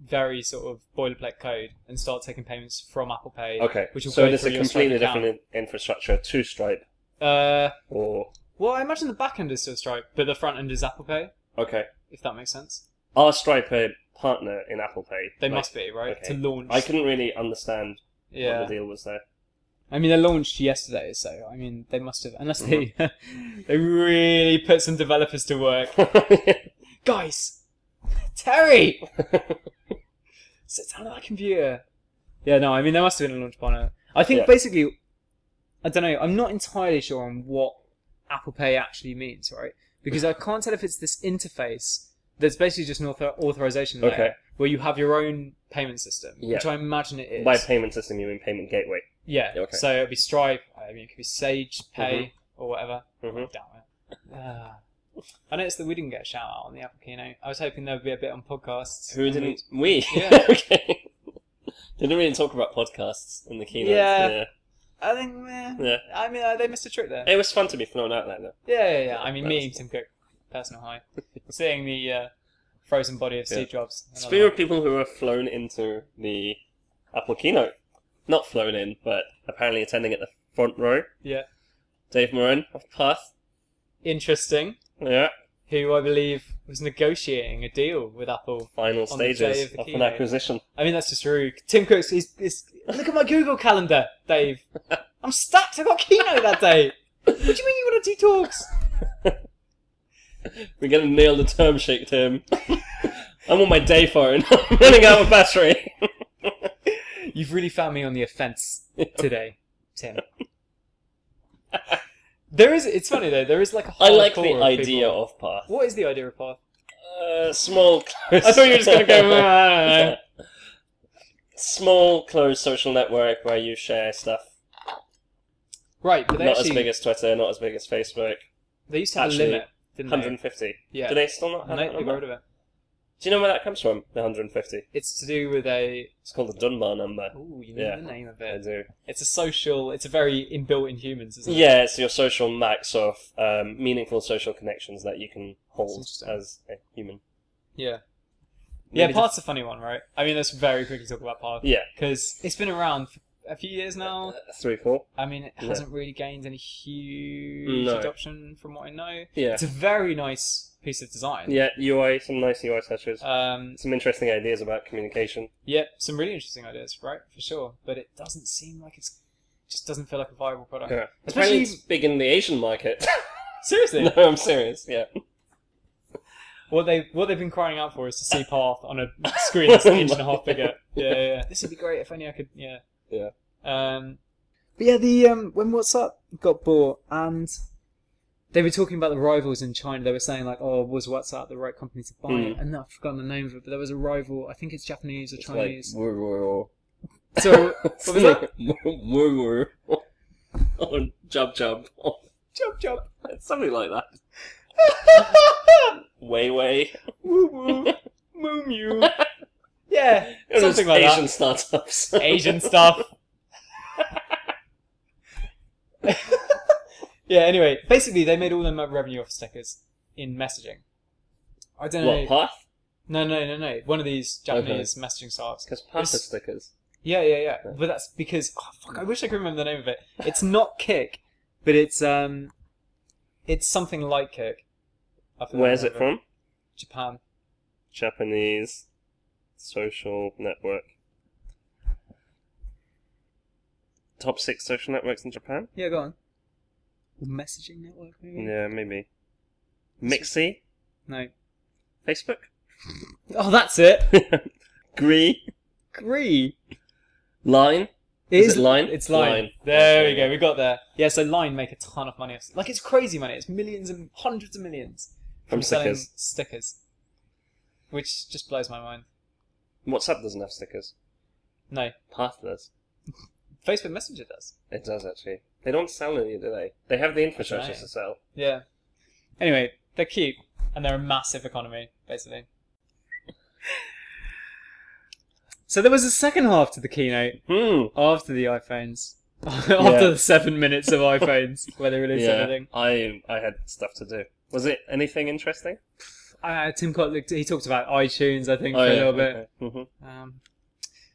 Speaker 1: very sort of boilerplate code and start taking payments from Apple Pay.
Speaker 2: Okay,
Speaker 1: Which will
Speaker 2: so
Speaker 1: go
Speaker 2: there's a
Speaker 1: through your Stripe
Speaker 2: completely
Speaker 1: account.
Speaker 2: different in- infrastructure to Stripe,
Speaker 1: Uh,
Speaker 2: or
Speaker 1: well, I imagine the back end is still Stripe, but the front end is Apple Pay,
Speaker 2: okay.
Speaker 1: if that makes sense.
Speaker 2: Are Stripe a partner in Apple Pay?
Speaker 1: They
Speaker 2: Like,
Speaker 1: must be, right? To
Speaker 2: okay.
Speaker 1: launch.
Speaker 2: I couldn't really understand
Speaker 1: yeah.
Speaker 2: what the deal was there.
Speaker 1: I mean, they launched yesterday, so I mean, they must have, unless they
Speaker 2: Mm-hmm.
Speaker 1: they really put some developers to work. Guys, Terry, sit down at that computer. Yeah, no, I mean, there must have been a launch partner. I think
Speaker 2: Yeah.
Speaker 1: basically, I don't know. I'm not entirely sure on what Apple Pay actually means, right? Because I can't tell if it's this interface that's basically just an author- authorization layer
Speaker 2: Okay.
Speaker 1: where you have your own payment system,
Speaker 2: Yeah.
Speaker 1: which I imagine it is.
Speaker 2: By payment system, you mean payment gateway.
Speaker 1: Yeah.
Speaker 2: Okay.
Speaker 1: So it'll be Stripe. I mean, it could be Sage Pay or whatever.
Speaker 2: hmm
Speaker 1: Damn it. Ah. I noticed that we didn't get a shout out on the Apple keynote. I was hoping there would be a bit on podcasts.
Speaker 2: Who
Speaker 1: And
Speaker 2: didn't we?
Speaker 1: Yeah.
Speaker 2: okay. Didn't really talk about podcasts in the keynote.
Speaker 1: Yeah.
Speaker 2: yeah.
Speaker 1: we- I think. eh,
Speaker 2: Yeah.
Speaker 1: I mean, uh, they missed a trick there.
Speaker 2: It was fun to be thrown out there, though.
Speaker 1: Yeah, yeah, yeah. I mean,
Speaker 2: that
Speaker 1: me
Speaker 2: was-
Speaker 1: and Tim Cook, personal high. Seeing the uh, frozen body of Steve
Speaker 2: Yeah.
Speaker 1: Jobs. another
Speaker 2: Speaking
Speaker 1: one.
Speaker 2: of people who were flown into the Apple keynote, not flown in, but apparently attending at the front row,
Speaker 1: Yeah.
Speaker 2: Dave Moran of Path.
Speaker 1: Interesting.
Speaker 2: Yeah.
Speaker 1: Who I believe was negotiating a deal with Apple.
Speaker 2: Final
Speaker 1: On the day of
Speaker 2: stages of,
Speaker 1: the
Speaker 2: an
Speaker 1: keynote.
Speaker 2: acquisition.
Speaker 1: I mean, that's just rude. Tim Cook's. He's, he's, look at my Google calendar, Dave. I'm stacked. I got a keynote that day. What do you mean you want to do talks?
Speaker 2: We're gonna nail the term sheet, Tim. I'm on my day phone. I'm running out of battery.
Speaker 1: You've really found me on the offence today, Tim. there is. It's funny though. There is like a
Speaker 2: I like
Speaker 1: hardcore
Speaker 2: the
Speaker 1: of
Speaker 2: idea
Speaker 1: people-
Speaker 2: of path.
Speaker 1: What is the idea of path?
Speaker 2: Uh, small. Close.
Speaker 1: I thought you were just gonna go. "Ah, I don't know."
Speaker 2: small closed social network where you share stuff.
Speaker 1: Right, but they
Speaker 2: Not
Speaker 1: actually
Speaker 2: as big as Twitter, not as big as Facebook.
Speaker 1: they used to have
Speaker 2: actually,
Speaker 1: a limit, didn't they?
Speaker 2: 150.
Speaker 1: Yeah,
Speaker 2: Do they still not
Speaker 1: No,
Speaker 2: have
Speaker 1: they
Speaker 2: that
Speaker 1: got rid
Speaker 2: number?
Speaker 1: of it.
Speaker 2: Do you know where that comes from? The 150.
Speaker 1: It's to do with a.
Speaker 2: It's called the Dunbar number.
Speaker 1: Oh, you know
Speaker 2: Yeah.
Speaker 1: the name of
Speaker 2: I
Speaker 1: it.
Speaker 2: do.
Speaker 1: It's a social. It's a very inbuilt in humans, isn't it?
Speaker 2: Yeah, it's your social max of um, meaningful social connections that you can hold
Speaker 1: That's interesting.
Speaker 2: as a human.
Speaker 1: Yeah. yeah,
Speaker 2: Maybe
Speaker 1: part's a funny one, right? I mean, let's very quickly talk about part.
Speaker 2: Yeah.
Speaker 1: Because it's been around for a few years now.
Speaker 2: just, uh, three, four.
Speaker 1: I mean, it
Speaker 2: Yeah.
Speaker 1: hasn't really gained any huge
Speaker 2: No.
Speaker 1: adoption from what I know.
Speaker 2: Yeah.
Speaker 1: It's a very nice piece of design.
Speaker 2: Yeah, UI, some nice UI touches.
Speaker 1: Um,
Speaker 2: some interesting ideas about communication.
Speaker 1: yeah, some really interesting ideas, right? For sure. But it doesn't seem like it's. Just doesn't feel like a viable product.
Speaker 2: Yeah.
Speaker 1: Especially-
Speaker 2: Especially it's big in the Asian market.
Speaker 1: Seriously,
Speaker 2: no, I'm serious. Yeah.
Speaker 1: what they what they've been crying out for is to see Path on a screen that's an inch and a half bigger. Yeah, yeah, yeah. This would be great if only I could. Yeah.
Speaker 2: Yeah.
Speaker 1: Um, but yeah, the um, when What's Up got bought, and they were talking about the rivals in China. They were saying like, "Oh, was What's Up the right company to buy?" it?
Speaker 2: Hmm.
Speaker 1: And I've forgotten the name of it, but there was a rival. I think it's Japanese or
Speaker 2: It's like,
Speaker 1: Chinese.
Speaker 2: woo woo
Speaker 1: so
Speaker 2: What
Speaker 1: was that?
Speaker 2: Woo woo. Oh, jub jub. Oh,
Speaker 1: jump, jump,
Speaker 2: something like that. Way way.
Speaker 1: woo woo, moo moo. Yeah,
Speaker 2: It was
Speaker 1: something like
Speaker 2: Asian
Speaker 1: that.
Speaker 2: startups.
Speaker 1: Asian stuff. yeah, anyway, basically they made all their revenue off stickers in messaging. I don't know.
Speaker 2: What, Path?
Speaker 1: No, no, no, no. One of these Japanese messaging sites.
Speaker 2: Because Path
Speaker 1: It's-
Speaker 2: is stickers.
Speaker 1: Yeah, yeah, yeah. But that's because oh, fuck, I wish I could remember the name of it. It's not Kick, but it's um it's something like Kick. I forgot the
Speaker 2: Where's
Speaker 1: name
Speaker 2: it
Speaker 1: of
Speaker 2: from?
Speaker 1: Japan.
Speaker 2: Japanese social network. Top six social networks in Japan?
Speaker 1: Yeah, go on. Messaging network maybe?
Speaker 2: Yeah, maybe. Mixi?
Speaker 1: No.
Speaker 2: Facebook?
Speaker 1: Oh, that's it.
Speaker 2: Gree?
Speaker 1: Gree.
Speaker 2: Line?
Speaker 1: It
Speaker 2: Is it Line?
Speaker 1: It's line.
Speaker 2: Line.
Speaker 1: There
Speaker 2: Okay.
Speaker 1: we go. We got there. Yeah, so line make a ton of money. Off, like it's crazy money. It's millions and hundreds of millions
Speaker 2: From
Speaker 1: selling
Speaker 2: stickers.
Speaker 1: stickers, which just blows my mind.
Speaker 2: WhatsApp doesn't have stickers.
Speaker 1: No,
Speaker 2: Path does.
Speaker 1: Facebook Messenger does.
Speaker 2: It does, actually. They don't sell any, do they? They have the infrastructure
Speaker 1: Right.
Speaker 2: to sell.
Speaker 1: Yeah. Anyway, they're cute and they're a massive economy, basically. So there was a second half to the keynote
Speaker 2: Hmm.
Speaker 1: after the iPhones, after
Speaker 2: Yeah.
Speaker 1: the seven minutes of iPhones where they released everything.
Speaker 2: I, I had stuff to do. Was it anything interesting?
Speaker 1: Uh, Tim Cook looked, he talked about iTunes, I think,
Speaker 2: Oh,
Speaker 1: for a little bit.
Speaker 2: Mm-hmm.
Speaker 1: Um,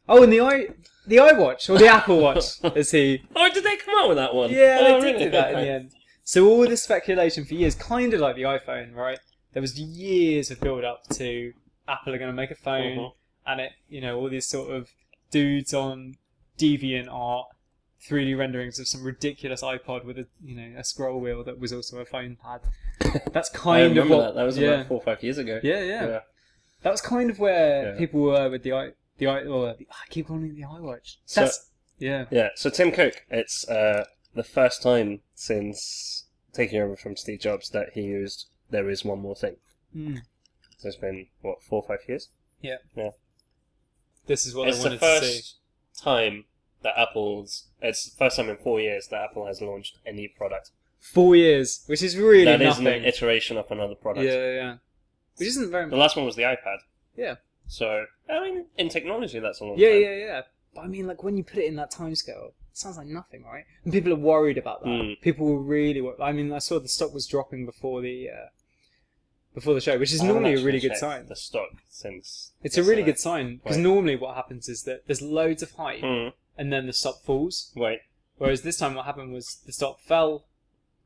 Speaker 1: oh, and the i the iWatch or the Apple Watch, is he?
Speaker 2: Oh, did they come out with that one?
Speaker 1: Yeah,
Speaker 2: oh,
Speaker 1: they did
Speaker 2: really?
Speaker 1: do that in the end. So all this speculation for years, kind of like the iPhone, right? There was years of build up to Apple are going to make a phone,
Speaker 2: Mhm.
Speaker 1: and it, you know, all these sort of dudes on Deviant Art, 3D renderings of some ridiculous iPod with a, you know, a scroll wheel that was also a phone pad. That's
Speaker 2: I
Speaker 1: kind of
Speaker 2: remember
Speaker 1: what
Speaker 2: that. That was
Speaker 1: yeah.
Speaker 2: about four or five years ago.
Speaker 1: Yeah, yeah, That was kind of where
Speaker 2: Yeah.
Speaker 1: people were with the i the i or the, I keep calling it the iWatch.
Speaker 2: So-
Speaker 1: That's yeah.
Speaker 2: Yeah, so Tim Cook, it's uh, the first time since taking over from Steve Jobs that he used There Is One More Thing.
Speaker 1: Mm.
Speaker 2: So it's been, what, four or five years?
Speaker 1: This is what
Speaker 2: it's
Speaker 1: I
Speaker 2: the
Speaker 1: wanted to see.
Speaker 2: first time that Apple's, it's the first time in four years that Apple has launched any product.
Speaker 1: Four years, which is really
Speaker 2: That is
Speaker 1: nothing.
Speaker 2: an iteration of another product.
Speaker 1: Yeah, yeah. Which isn't very
Speaker 2: The last one was the iPad.
Speaker 1: Yeah.
Speaker 2: So, I mean, in technology, that's a long
Speaker 1: Yeah,
Speaker 2: time.
Speaker 1: yeah, yeah. But I mean, like when you put it in that time scale, it sounds like nothing, right? And people are worried about that.
Speaker 2: Mm.
Speaker 1: People were really. Wor- I mean, I saw the stock was dropping before the uh, before the show, which is
Speaker 2: I haven't
Speaker 1: normally a
Speaker 2: actually
Speaker 1: really good
Speaker 2: checked
Speaker 1: sign.
Speaker 2: The stock since.
Speaker 1: It's a really
Speaker 2: yesterday.
Speaker 1: good sign because
Speaker 2: Right.
Speaker 1: normally what happens is that there's loads of hype
Speaker 2: Mm,
Speaker 1: and then the stock falls.
Speaker 2: wait.
Speaker 1: Whereas this time, what happened was the stock fell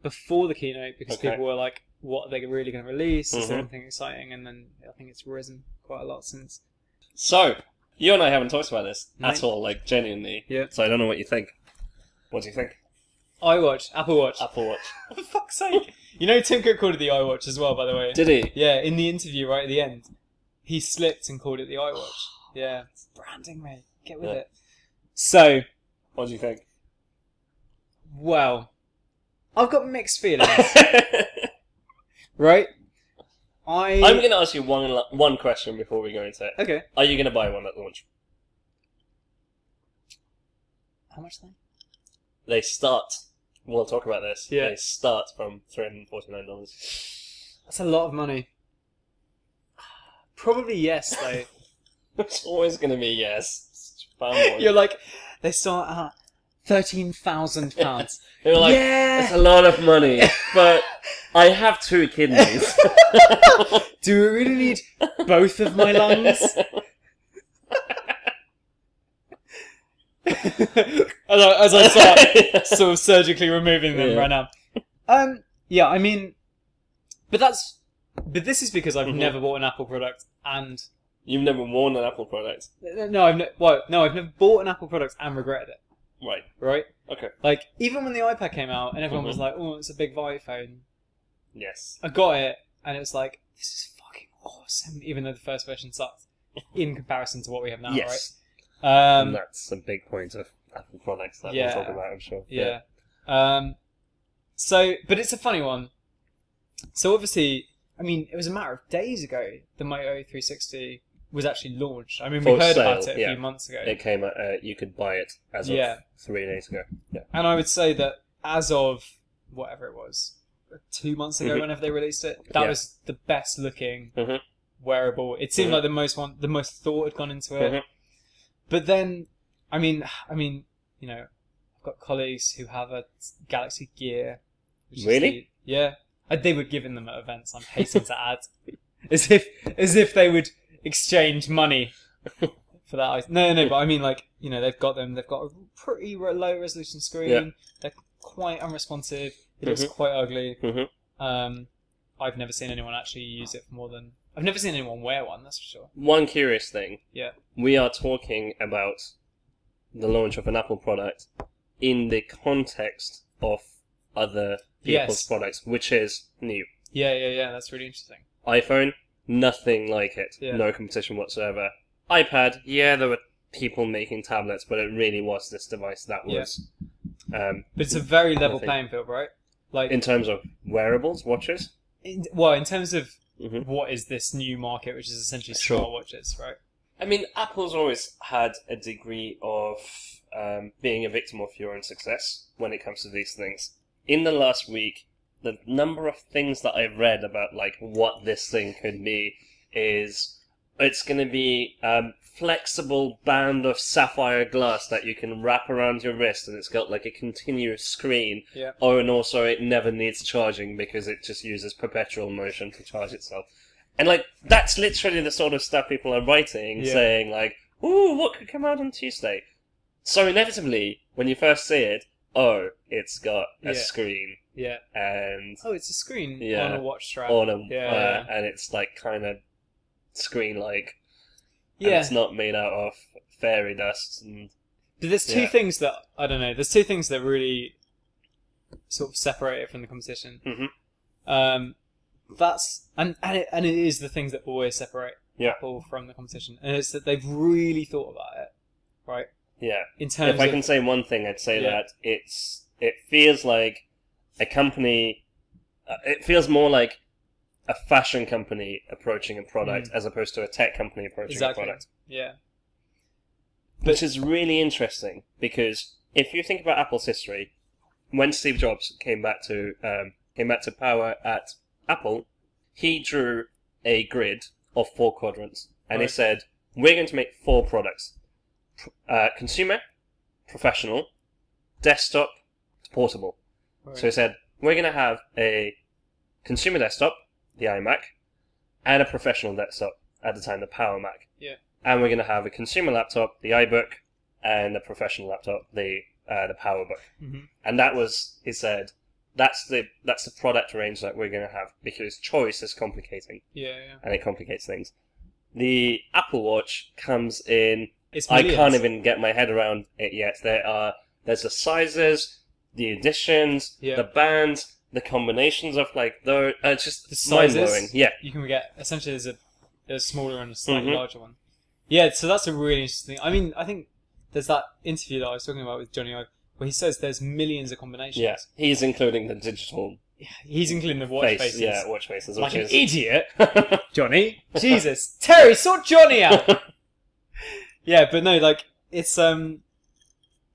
Speaker 1: before the keynote because
Speaker 2: Okay.
Speaker 1: people were like, "What are they really going to release? Is there
Speaker 2: Mhm.
Speaker 1: anything exciting?" And then I think it's risen quite a lot since.
Speaker 2: So, you and I haven't talked about this
Speaker 1: Right.
Speaker 2: at all, like genuinely.
Speaker 1: Yeah.
Speaker 2: So I don't know what you think. What do you think?
Speaker 1: iWatch, Apple Watch.
Speaker 2: Apple Watch.
Speaker 1: For fuck's sake! You know Tim Cook called it the iWatch as well, by the way.
Speaker 2: Did he?
Speaker 1: yeah, in the interview right at the end, he slipped and called it the iWatch. Yeah, it's branding, mate. Get with
Speaker 2: Yeah.
Speaker 1: it. So,
Speaker 2: What do you think?
Speaker 1: well, I've got mixed feelings, right? I
Speaker 2: I'm going to ask you one la- one question before we go into it.
Speaker 1: okay.
Speaker 2: Are you going to buy one at launch?
Speaker 1: How much time?
Speaker 2: They start. We'll talk about this.
Speaker 1: Yeah.
Speaker 2: They start from three hundred forty nine dollars.
Speaker 1: That's a lot of money. Probably yes, though.
Speaker 2: It's always going to be yes. It's fanboy.
Speaker 1: You're like, they start at thirteen thousand pounds.
Speaker 2: They were like, it's a
Speaker 1: yeah.
Speaker 2: lot of money, but I have two kidneys.
Speaker 1: Do we really need both of my lungs? as, I, as I start sort of surgically removing them
Speaker 2: Yeah.
Speaker 1: right now. Um, yeah, I mean, but that's, but this is because I've
Speaker 2: Mhm.
Speaker 1: never bought an Apple product, and
Speaker 2: You've never worn an Apple product.
Speaker 1: no, I've ne- well, no, I've never bought an Apple product and regretted it.
Speaker 2: Right.
Speaker 1: Right?
Speaker 2: Okay.
Speaker 1: Like even when the iPad came out, and everyone was
Speaker 2: Mhm.
Speaker 1: like, "Oh, it's a big iPhone,"
Speaker 2: Yes.
Speaker 1: I got it, and it was like, "This is fucking awesome," even though the first version sucked in comparison to what we have now.
Speaker 2: yes.
Speaker 1: Right? Um,
Speaker 2: and that's a big point of Apple products that
Speaker 1: yeah.
Speaker 2: we'll talk about, I'm sure.
Speaker 1: Yeah. Um, so, but it's a funny one. So obviously, I mean, it was a matter of days ago the Moto 360 was actually launched. I mean, we
Speaker 2: For
Speaker 1: heard
Speaker 2: sale,
Speaker 1: about it a
Speaker 2: yeah.
Speaker 1: few months ago,
Speaker 2: It came. out- Uh, you could buy it as of
Speaker 1: Yeah.
Speaker 2: three days ago. Yeah.
Speaker 1: and I would say that as of whatever it was, two months ago,
Speaker 2: Mhm.
Speaker 1: whenever they released it, that
Speaker 2: Yeah.
Speaker 1: was the best looking
Speaker 2: Mhm.
Speaker 1: wearable. It seemed
Speaker 2: Mhm.
Speaker 1: like the most one, the most thought had gone into it.
Speaker 2: Mhm.
Speaker 1: But then, I mean, I mean, you know, I've got colleagues who have a Galaxy Gear. is
Speaker 2: Really?
Speaker 1: the- yeah, Uh, they were given them at events. I'm hastening to add, as if as if they would exchange money for that. item. No, no, but I mean, like, you know, they've got them. They've got a pretty re- low resolution screen.
Speaker 2: Yeah. Mm-hmm.
Speaker 1: They're quite unresponsive. It looks quite ugly.
Speaker 2: Mhm.
Speaker 1: Um, I've never seen anyone actually use it for more than. I've never seen anyone wear one. That's for sure.
Speaker 2: One curious thing.
Speaker 1: Yeah.
Speaker 2: We are talking about the launch of an Apple product in the context of other people's
Speaker 1: Yes.
Speaker 2: products, which is new.
Speaker 1: Yeah, yeah, yeah. That's really interesting.
Speaker 2: iPhone, nothing like it.
Speaker 1: Yeah.
Speaker 2: No competition whatsoever. iPad, yeah, there were people making tablets, but it really was this device that
Speaker 1: Yeah.
Speaker 2: was. Um,
Speaker 1: But it's a very level
Speaker 2: Nothing.
Speaker 1: playing field, right? Like,
Speaker 2: in terms of wearables, watches,
Speaker 1: in, well, in terms of
Speaker 2: Mhm.
Speaker 1: what is this new market, which is essentially
Speaker 2: Sure.
Speaker 1: smartwatches, right?
Speaker 2: I mean, Apple's always had a degree of um, being a victim of your own success when it comes to these things. In the last week, the number of things that I've read about like what this thing could be is it's going to be um, flexible band of sapphire glass that you can wrap around your wrist, and it's got like a continuous screen.
Speaker 1: Yeah.
Speaker 2: Oh, and also it never needs charging because it just uses perpetual motion to charge itself. And like that's literally the sort of stuff people are writing,
Speaker 1: Yeah.
Speaker 2: saying like, "Ooh, what could come out on Tuesday?" So inevitably, when you first see it, oh, it's got
Speaker 1: Yeah.
Speaker 2: a screen
Speaker 1: Yeah.
Speaker 2: and
Speaker 1: Oh, it's a screen
Speaker 2: Yeah.
Speaker 1: on a watch strap.
Speaker 2: on a
Speaker 1: Yeah.
Speaker 2: uh, and it's like kind of screen-like. and
Speaker 1: yeah.
Speaker 2: it's not made out of fairy dust. And
Speaker 1: But there's two
Speaker 2: Yeah.
Speaker 1: things that I don't know. There's two things that really sort of separate it from the competition.
Speaker 2: Mhm.
Speaker 1: Um, that's and and it, and it is the things that always separate
Speaker 2: Yeah.
Speaker 1: Apple from the competition, and it's that they've really thought about it, right?
Speaker 2: yeah,
Speaker 1: In terms
Speaker 2: if I
Speaker 1: of
Speaker 2: can say one thing, I'd say
Speaker 1: Yeah.
Speaker 2: that it's it feels like a company. Uh, it feels more like a fashion company approaching a product as opposed to a tech company approaching
Speaker 1: Mm. exactly,
Speaker 2: a product,
Speaker 1: yeah,
Speaker 2: which is really interesting because if you think about Apple's history, when Steve Jobs came back to um, came back to power at Apple, he drew a grid of four quadrants and he
Speaker 1: Right.
Speaker 2: said, "We're going to make four products: Pr- uh, consumer, professional, desktop, portable."
Speaker 1: Right.
Speaker 2: So he said, we're going to have a consumer desktop, the iMac, and a professional desktop, at the time, the Power Mac.
Speaker 1: Yeah.
Speaker 2: And we're going to have a consumer laptop, the iBook, and a professional laptop, the uh, the PowerBook.
Speaker 1: Mhm.
Speaker 2: And that was, he said, that's the that's the product range that we're going to have because choice is complicating
Speaker 1: yeah, yeah.
Speaker 2: and it complicates things. The Apple Watch comes in
Speaker 1: It's
Speaker 2: I
Speaker 1: millions.
Speaker 2: can't even get my head around it yet. There are there's the sizes, the additions,
Speaker 1: Yeah.
Speaker 2: the bands, the combinations of like though uh, it's just
Speaker 1: The
Speaker 2: mind
Speaker 1: sizes?
Speaker 2: blowing. Yeah,
Speaker 1: You can get essentially there's a there's a smaller and a slightly
Speaker 2: Mhm.
Speaker 1: larger one. Yeah, so that's a really interesting. thing. I mean, I think there's that interview that I was talking about with Johnny Ive where he says there's millions of combinations.
Speaker 2: yeah. He's including the digital
Speaker 1: He's including the watch
Speaker 2: face,
Speaker 1: faces.
Speaker 2: yeah, watch faces,
Speaker 1: like
Speaker 2: which
Speaker 1: an
Speaker 2: is
Speaker 1: idiot, Johnny. Jesus, Terry, sort Johnny out. yeah, but no, like it's um,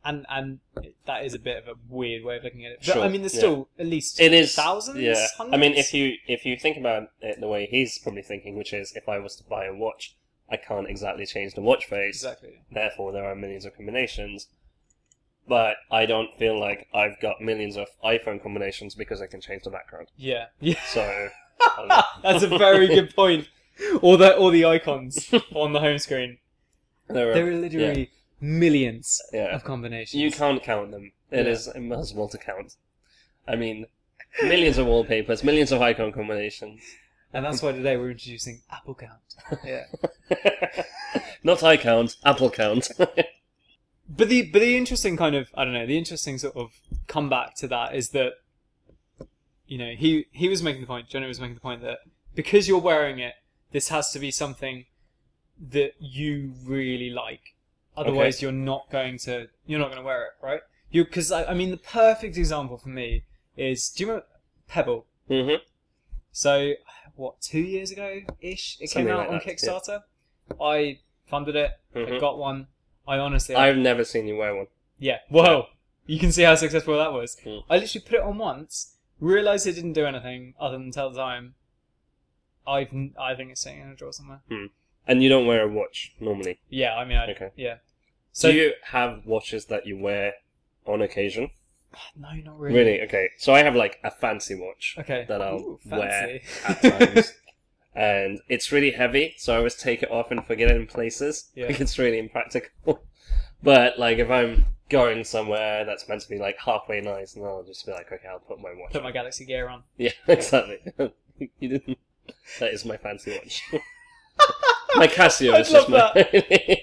Speaker 1: and and that is a bit of a weird way of looking at it. But
Speaker 2: Sure,
Speaker 1: I mean, there's
Speaker 2: yeah.
Speaker 1: still at least
Speaker 2: It is
Speaker 1: thousands.
Speaker 2: Yeah,
Speaker 1: hundreds?
Speaker 2: I mean, if you if you think about it the way he's probably thinking, which is if I was to buy a watch, I can't exactly change the watch face.
Speaker 1: exactly
Speaker 2: Therefore, there are millions of combinations. But I don't feel like I've got millions of iPhone combinations because I can change the background.
Speaker 1: yeah yeah
Speaker 2: So I don't know.
Speaker 1: that's a very good point. All the all the icons on the home screen.
Speaker 2: there are,
Speaker 1: There are literally millions
Speaker 2: yeah,
Speaker 1: of combinations.
Speaker 2: you can't count them. It
Speaker 1: Yeah.
Speaker 2: is impossible to count. I mean, millions of wallpapers, millions of icon combinations.
Speaker 1: and that's why today we're introducing Apple Count. Yeah.
Speaker 2: Not I count, Apple count.
Speaker 1: But the but the interesting kind of I don't know the interesting sort of comeback to that is that you know he he was making the point Johnny was making the point that because you're wearing it this has to be something that you really like otherwise you're not going to you're not going to wear it right you because I, I mean the perfect example for me is do you remember Pebble
Speaker 2: hmm
Speaker 1: so what two years ago ish it
Speaker 2: Something
Speaker 1: came
Speaker 2: like
Speaker 1: out on
Speaker 2: that, yeah.
Speaker 1: Kickstarter I funded it I
Speaker 2: Mhm.
Speaker 1: got one I honestly
Speaker 2: I've never seen you wear one.
Speaker 1: yeah. Whoa. You can see how successful that was.
Speaker 2: Hmm.
Speaker 1: I literally put it on once, realized it didn't do anything other than tell the time. I've n- I think it's sitting in a drawer somewhere.
Speaker 2: And you don't wear a watch normally.
Speaker 1: Yeah, I mean, I,
Speaker 2: Okay.
Speaker 1: yeah. So
Speaker 2: So Do you have watches that you wear on occasion?
Speaker 1: no, not really.
Speaker 2: Really? Okay. So I have like a fancy watch
Speaker 1: Okay.
Speaker 2: that I'll
Speaker 1: Ooh,
Speaker 2: wear
Speaker 1: fancy.
Speaker 2: at times. and it's really heavy, so I always take it off and forget it in places.
Speaker 1: Yeah.
Speaker 2: Like it's really impractical. but like if I'm going somewhere that's meant to be like halfway nice, and I'll just be like, okay, I'll put my watch
Speaker 1: put
Speaker 2: on.
Speaker 1: my Galaxy Gear on.
Speaker 2: Yeah, exactly. you didn't. That is my fancy watch. my Casio
Speaker 1: I'd
Speaker 2: is just
Speaker 1: love
Speaker 2: my.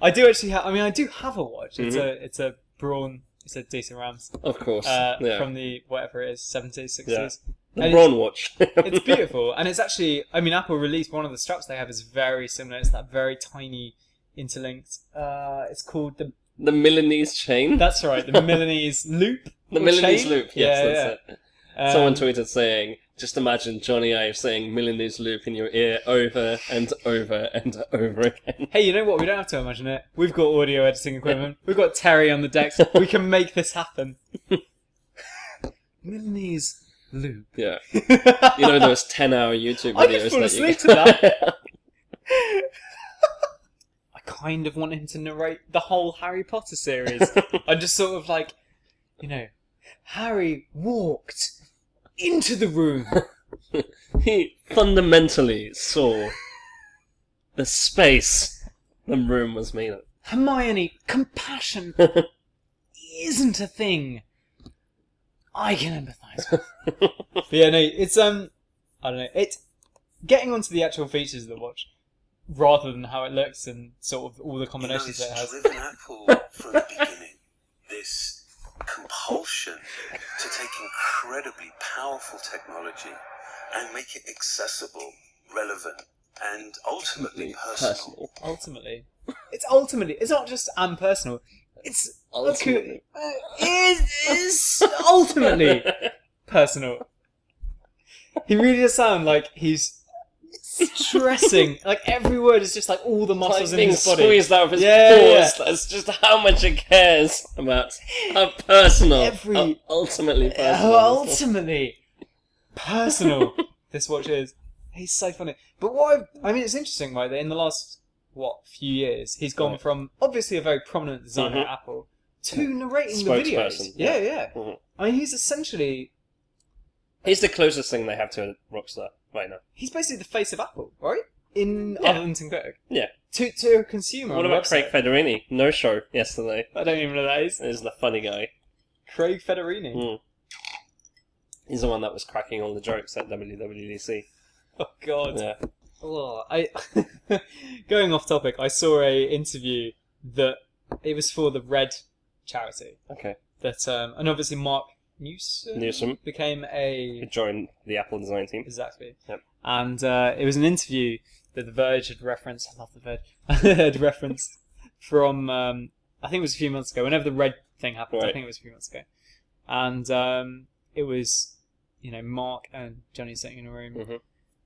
Speaker 1: I do actually have. I mean, I do have a watch. It's a it's a Braun. It's a decent Rams
Speaker 2: of course.
Speaker 1: uh,
Speaker 2: Mm-hmm. yeah.
Speaker 1: from the whatever it is, seventies,
Speaker 2: Yeah.
Speaker 1: sixties.
Speaker 2: the
Speaker 1: and
Speaker 2: Braun watch.
Speaker 1: it's beautiful and it's actually i mean apple released one of the straps they have is very similar it's that very tiny interlinked uh it's called the
Speaker 2: the Milanese chain.
Speaker 1: that's right the milanese loop
Speaker 2: the
Speaker 1: or
Speaker 2: Milanese
Speaker 1: chain?
Speaker 2: loop. Yes,
Speaker 1: Yeah,
Speaker 2: that's it.
Speaker 1: Um,
Speaker 2: Someone tweeted saying, "Just imagine Johnny Ive saying Milanese loop in your ear over and over and over again."
Speaker 1: hey you know what we don't have to imagine it we've got audio editing equipment we've got terry on the decks we can make this happen milanese loop
Speaker 2: Yeah,
Speaker 1: you
Speaker 2: you know those ten-hour YouTube
Speaker 1: I
Speaker 2: videos.
Speaker 1: could fall
Speaker 2: that you-
Speaker 1: asleep to that. I kind of want him to narrate the whole Harry Potter series. I'm just sort of like, you know, Harry walked into the room.
Speaker 2: he fundamentally saw the space the room was made of.
Speaker 1: Hermione, compassion isn't a thing. I can empathise with. but yeah, no, it's um, I don't know. It's getting onto the actual features of the watch rather than how it looks and sort of all the
Speaker 3: You know,
Speaker 1: combinations
Speaker 3: it's
Speaker 1: that it has.
Speaker 3: driven Apple from the beginning. This compulsion to take incredibly powerful technology and make it accessible, relevant, and ultimately personal.
Speaker 2: Personal.
Speaker 1: ultimately. It's ultimately. It's not just and personal. It's
Speaker 2: Ultimately.
Speaker 1: Okay, uh, it is ultimately personal. He really does sound like he's stressing. like every word is just like all the muscles
Speaker 2: Like
Speaker 1: in
Speaker 2: being
Speaker 1: his body.
Speaker 2: squeezed out of his
Speaker 1: Yeah, yeah,
Speaker 2: pores. That's just how much it cares about how personal,
Speaker 1: Every-
Speaker 2: how ultimately personal.
Speaker 1: Oh, ultimately personal. this watch is. He's so funny. But what I, I mean, it's interesting, right? That in the last what few years, he's gone
Speaker 2: Right.
Speaker 1: from obviously a very prominent designer
Speaker 2: Mhm.
Speaker 1: at Apple to narrating the
Speaker 2: Spokesperson,
Speaker 1: videos. Mm-hmm. Yeah, yeah.
Speaker 2: Mhm.
Speaker 1: I mean, he's essentially
Speaker 2: He's the closest thing they have to a rockstar right now.
Speaker 1: he's basically the face of Apple, right? In
Speaker 2: Yeah.
Speaker 1: other than Tim Cook.
Speaker 2: Yeah.
Speaker 1: To to a consumer.
Speaker 2: what
Speaker 1: on the
Speaker 2: about Craig
Speaker 1: website.
Speaker 2: Federini? No show yesterday.
Speaker 1: I don't even know who that is.
Speaker 2: Is the funny guy.
Speaker 1: Craig Federini.
Speaker 2: Mm. He's the one that was cracking all the jokes at WWDC.
Speaker 1: Oh God.
Speaker 2: Yeah.
Speaker 1: Oh, I going off topic. I saw a interview that it was for the Red charity
Speaker 2: Okay.
Speaker 1: that um, and obviously Mark Newsom,
Speaker 2: Newsom.
Speaker 1: became
Speaker 2: He
Speaker 1: a
Speaker 2: joined the Apple design team.
Speaker 1: exactly.
Speaker 2: Yep.
Speaker 1: And uh, it was an interview that The Verge had referenced. I love The Verge. had referenced from um, I think it was a few months ago. Whenever the Red thing happened, I
Speaker 2: Right.
Speaker 1: think it was a few months ago, and um, it was you know Mark and Johnny sitting in a room
Speaker 2: Mhm.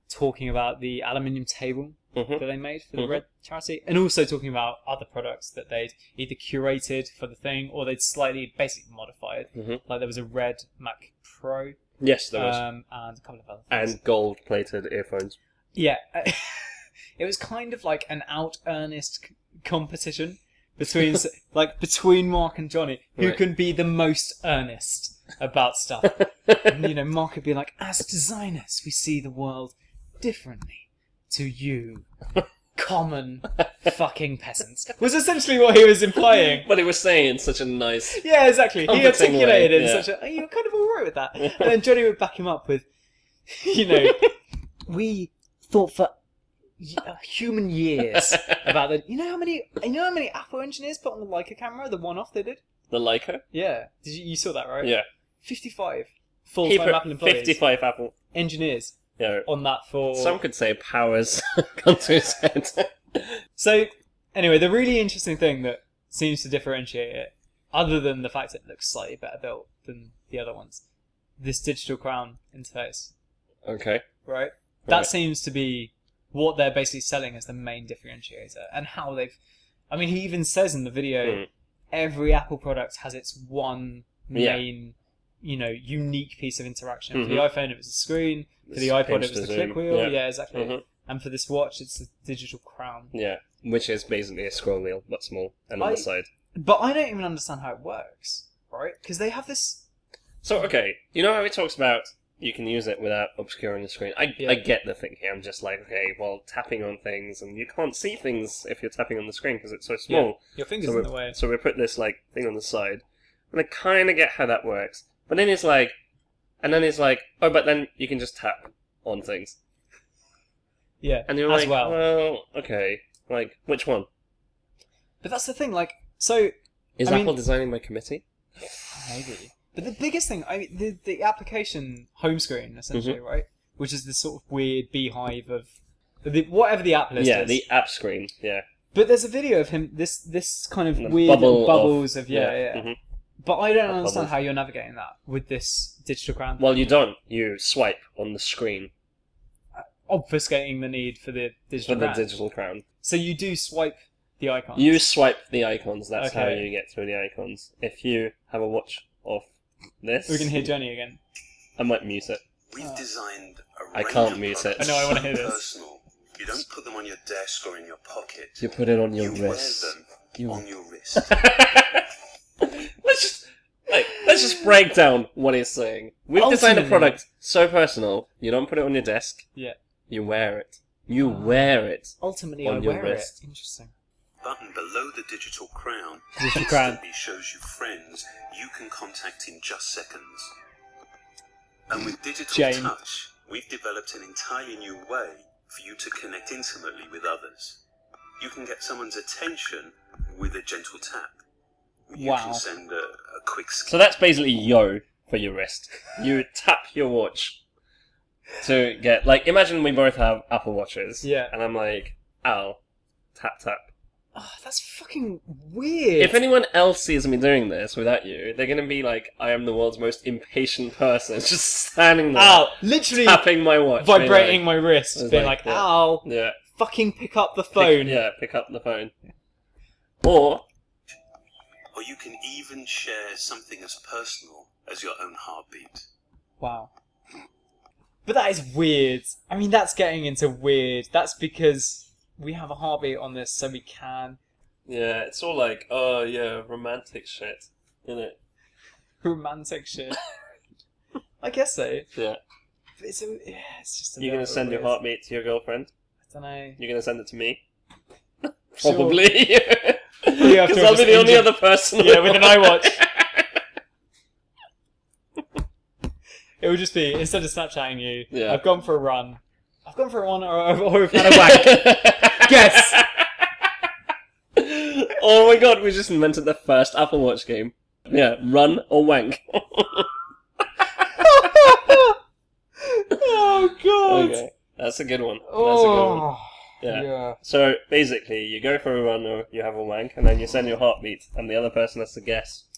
Speaker 1: talking about the aluminium table
Speaker 2: Mhm.
Speaker 1: that they made for
Speaker 2: Mhm.
Speaker 1: the Red charity, and also talking about other products that they'd either curated for the thing or they'd slightly basically modified.
Speaker 2: Mhm.
Speaker 1: Like there was a red Mac Pro
Speaker 2: Yes, there was.
Speaker 1: um, and a couple of other things.
Speaker 2: and gold plated earphones.
Speaker 1: yeah, it was kind of like an out earnest c- competition between s- like between Mark and Johnny, who
Speaker 2: Right.
Speaker 1: can be the most earnest about stuff. And, you know, Mark would be like, as designers, we see the world differently to you, common fucking peasants. Was essentially what he was implying.
Speaker 2: but it was saying in such a nice.
Speaker 1: Yeah, exactly. He
Speaker 2: Comforting
Speaker 1: articulated
Speaker 2: way,
Speaker 1: in
Speaker 2: yeah.
Speaker 1: such a, "Oh, you're kind of all right with that. And then Johnny would back him up with, you know, we thought for y- uh, human years about the. You know how many? You know how many Apple engineers put on the Leica camera, the one-off they did.
Speaker 2: The Leica.
Speaker 1: Yeah, did you, you saw that right?
Speaker 2: Yeah.
Speaker 1: fifty-five
Speaker 2: He
Speaker 1: full-time
Speaker 2: put
Speaker 1: Apple employees,
Speaker 2: 55 Apple.
Speaker 1: engineers
Speaker 2: Yeah.
Speaker 1: on that for
Speaker 2: Some could say powers come to his head.
Speaker 1: So, anyway, the really interesting thing that seems to differentiate it, other than the fact that it looks slightly better built than the other ones, this digital crown interface,
Speaker 2: okay.
Speaker 1: right? That
Speaker 2: Right.
Speaker 1: seems to be what they're basically selling as the main differentiator, and how they've. I mean, he even says in the video,
Speaker 2: Mm.
Speaker 1: every Apple product has its one
Speaker 2: Yeah.
Speaker 1: main, you know, unique piece of interaction. For the iPhone, it was the screen. For the
Speaker 2: Mm-hmm. It's
Speaker 1: iPod,
Speaker 2: pinch
Speaker 1: it was
Speaker 2: to
Speaker 1: the click
Speaker 2: zoom.
Speaker 1: wheel. Yeah,
Speaker 2: Yeah.
Speaker 1: exactly.
Speaker 2: Mhm.
Speaker 1: And for this watch, it's the digital crown.
Speaker 2: Yeah. Which is basically a scroll wheel, but small and on
Speaker 1: I-
Speaker 2: the side.
Speaker 1: But I don't even understand how it works, right? Because they have this.
Speaker 2: So, okay. You know how he talks about you can use it without obscuring the screen? I,
Speaker 1: Yeah.
Speaker 2: I get the thinking. I'm just like, okay, well, tapping on things, and you can't see things if you're tapping on the screen because it's so small.
Speaker 1: Your fingers
Speaker 2: So
Speaker 1: in
Speaker 2: we,
Speaker 1: the way.
Speaker 2: so we put this like thing on the side, and I kind of get how that works. But then it's like, and then it's like, oh, but then you can just tap on things,
Speaker 1: Yeah,
Speaker 2: and you're
Speaker 1: as
Speaker 2: like, uh,
Speaker 1: well.
Speaker 2: well, okay, like which one
Speaker 1: But that's the thing, like, so
Speaker 2: is
Speaker 1: I mean-
Speaker 2: Apple designing my committee?
Speaker 1: maybe. But the biggest thing, I mean, the the application home screen essentially,
Speaker 2: Mm-hmm.
Speaker 1: right? Which is this sort of weird beehive of the, whatever the app list
Speaker 2: yeah,
Speaker 1: is.
Speaker 2: the app screen. Yeah,
Speaker 1: But there's a video of him. This this kind of
Speaker 2: The
Speaker 1: weird little
Speaker 2: bubble of-
Speaker 1: bubbles of, yeah, yeah.
Speaker 2: mhm.
Speaker 1: But I don't
Speaker 2: Of
Speaker 1: understand
Speaker 2: bubbles.
Speaker 1: how you're navigating that with this digital crown,
Speaker 2: Well, you don't. You swipe on the screen
Speaker 1: obfuscating the need for the
Speaker 2: for
Speaker 1: digital
Speaker 2: the
Speaker 1: crown.
Speaker 2: digital crown.
Speaker 1: so you do swipe the icon.
Speaker 2: You swipe the icons. That's how
Speaker 1: Okay.
Speaker 2: you get through the icons. If you have a watch of this,
Speaker 1: We can hear Johnny again.
Speaker 2: I might mute it.
Speaker 3: We've
Speaker 1: Oh.
Speaker 3: designed a
Speaker 2: I
Speaker 3: range
Speaker 2: can't
Speaker 3: of
Speaker 2: mute it.
Speaker 1: I know, I wanna hear this.
Speaker 3: Personal. You don't put them on your desk or in your pocket.
Speaker 2: You put it on your
Speaker 3: you
Speaker 2: wrist.
Speaker 3: wear them
Speaker 2: You-
Speaker 3: on your wrist.
Speaker 2: let's just like let's just break down what he's saying. We've designed a
Speaker 1: Ultimately-
Speaker 2: product so personal. You don't put it on your desk.
Speaker 1: Yeah.
Speaker 2: You wear it. You
Speaker 1: Ah.
Speaker 2: wear it.
Speaker 1: Ultimately, I
Speaker 2: On your
Speaker 1: wear
Speaker 2: wrist.
Speaker 1: it. Interesting.
Speaker 3: button below the digital crown
Speaker 1: Digital crown.
Speaker 3: instantly shows you friends you can contact in just seconds. And with digital
Speaker 1: Jane.
Speaker 3: touch, we've developed an entirely new way for you to connect intimately with others. You can get someone's attention with a gentle tap. You
Speaker 1: Wow.
Speaker 3: can send a, a quick
Speaker 2: So
Speaker 3: scan.
Speaker 2: that's basically yo for your wrist. You tap your watch to get like imagine we both have Apple watches.
Speaker 1: Yeah.
Speaker 2: And I'm like, ow, tap tap.
Speaker 1: Oh, that's fucking weird.
Speaker 2: If anyone else sees me doing this without you, they're gonna be like, I am the world's most impatient person, just standing there
Speaker 1: ow, literally
Speaker 2: tapping my watch, being like-
Speaker 1: vibrating my wrist,
Speaker 2: It's
Speaker 1: being like,
Speaker 2: like, yeah.
Speaker 1: ow,
Speaker 2: yeah.
Speaker 1: fucking pick up the
Speaker 2: Pick-
Speaker 1: phone.
Speaker 2: yeah, pick up the phone. Or
Speaker 3: Or you can even share something as personal as your own heartbeat.
Speaker 1: Wow. But that is weird. I mean, that's getting into weird. That's because we have a heartbeat on this, so we can
Speaker 2: yeah, it's all like oh yeah, romantic shit, isn't it?
Speaker 1: romantic shit. I guess so.
Speaker 2: Yeah.
Speaker 1: But it's, a, yeah, it's just. A
Speaker 2: You're
Speaker 1: bit
Speaker 2: gonna send your
Speaker 1: weird.
Speaker 2: heartbeat to your girlfriend.
Speaker 1: I don't know.
Speaker 2: You're gonna send it to me.
Speaker 1: Sure.
Speaker 2: Probably.
Speaker 1: You have to
Speaker 2: Because I'll
Speaker 1: just
Speaker 2: be the only
Speaker 1: injure-
Speaker 2: other person.
Speaker 1: Yeah, with an iWatch. It would just be instead of Snapchatting you,
Speaker 2: Yeah.
Speaker 1: I've gone for a run. I've gone for a run, or, or I've had a wank. Yes.
Speaker 2: oh my god, we just invented the first Apple Watch game. Yeah, run or wank.
Speaker 1: oh god.
Speaker 2: okay, that's a good one. That's a good one.
Speaker 1: Oh.
Speaker 2: Yeah.
Speaker 1: yeah.
Speaker 2: So basically, you go for a run or you have a wank, and then you send your heartbeat, and the other person has to guess.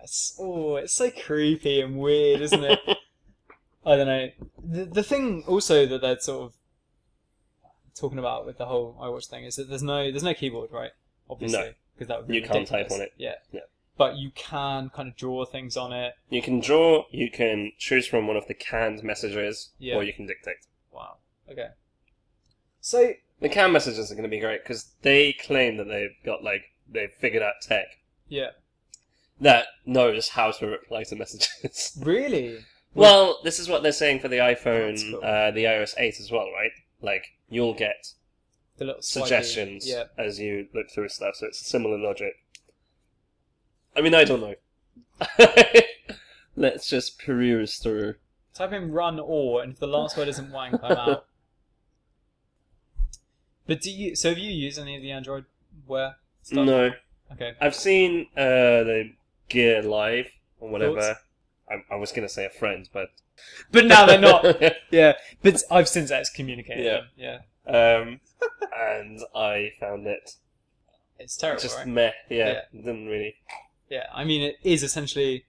Speaker 1: It's, oh, it's so creepy and weird, isn't it? I don't know. the, the thing also that they're sort of talking about with the whole iWatch thing is that there's no there's no keyboard, right? Obviously, because that would be
Speaker 2: You can't type
Speaker 1: ridiculous.
Speaker 2: on it.
Speaker 1: Yeah.
Speaker 2: Yeah.
Speaker 1: But you can kind of draw things on it.
Speaker 2: You can draw, you can choose from one of the canned messages,
Speaker 1: Yeah.
Speaker 2: or you can dictate.
Speaker 1: Wow. Okay. So
Speaker 2: The canned messages are going to be great because they claim that they've got, like, they've figured out tech
Speaker 1: yeah,
Speaker 2: that knows how to reply to messages.
Speaker 1: really.
Speaker 2: well, this is what they're saying for the iPhone,
Speaker 1: That's cool.
Speaker 2: uh, the iOS 8 as well, right? Like, you'll get
Speaker 1: The little swipey-
Speaker 2: suggestions
Speaker 1: Yeah.
Speaker 2: as you look through stuff, so it's a similar logic. I mean, I don't know. Let's just peruse through.
Speaker 1: Type in run or, and if the last word isn't wank, I'm out. But do you? So have you used any of the Android wear stuff?
Speaker 2: No,
Speaker 1: Okay.
Speaker 2: I've seen uh, the Gear Live or whatever.
Speaker 1: Thoughts?
Speaker 2: I, I was gonna say a friend, but
Speaker 1: But now they're not. yeah. But I've since excommunicated
Speaker 2: Yeah.
Speaker 1: them. Yeah.
Speaker 2: um, and I found it
Speaker 1: It's terrible,
Speaker 2: just
Speaker 1: right?
Speaker 2: meh. Yeah,
Speaker 1: Yeah.
Speaker 2: didn't really.
Speaker 1: Yeah, I mean, it is essentially.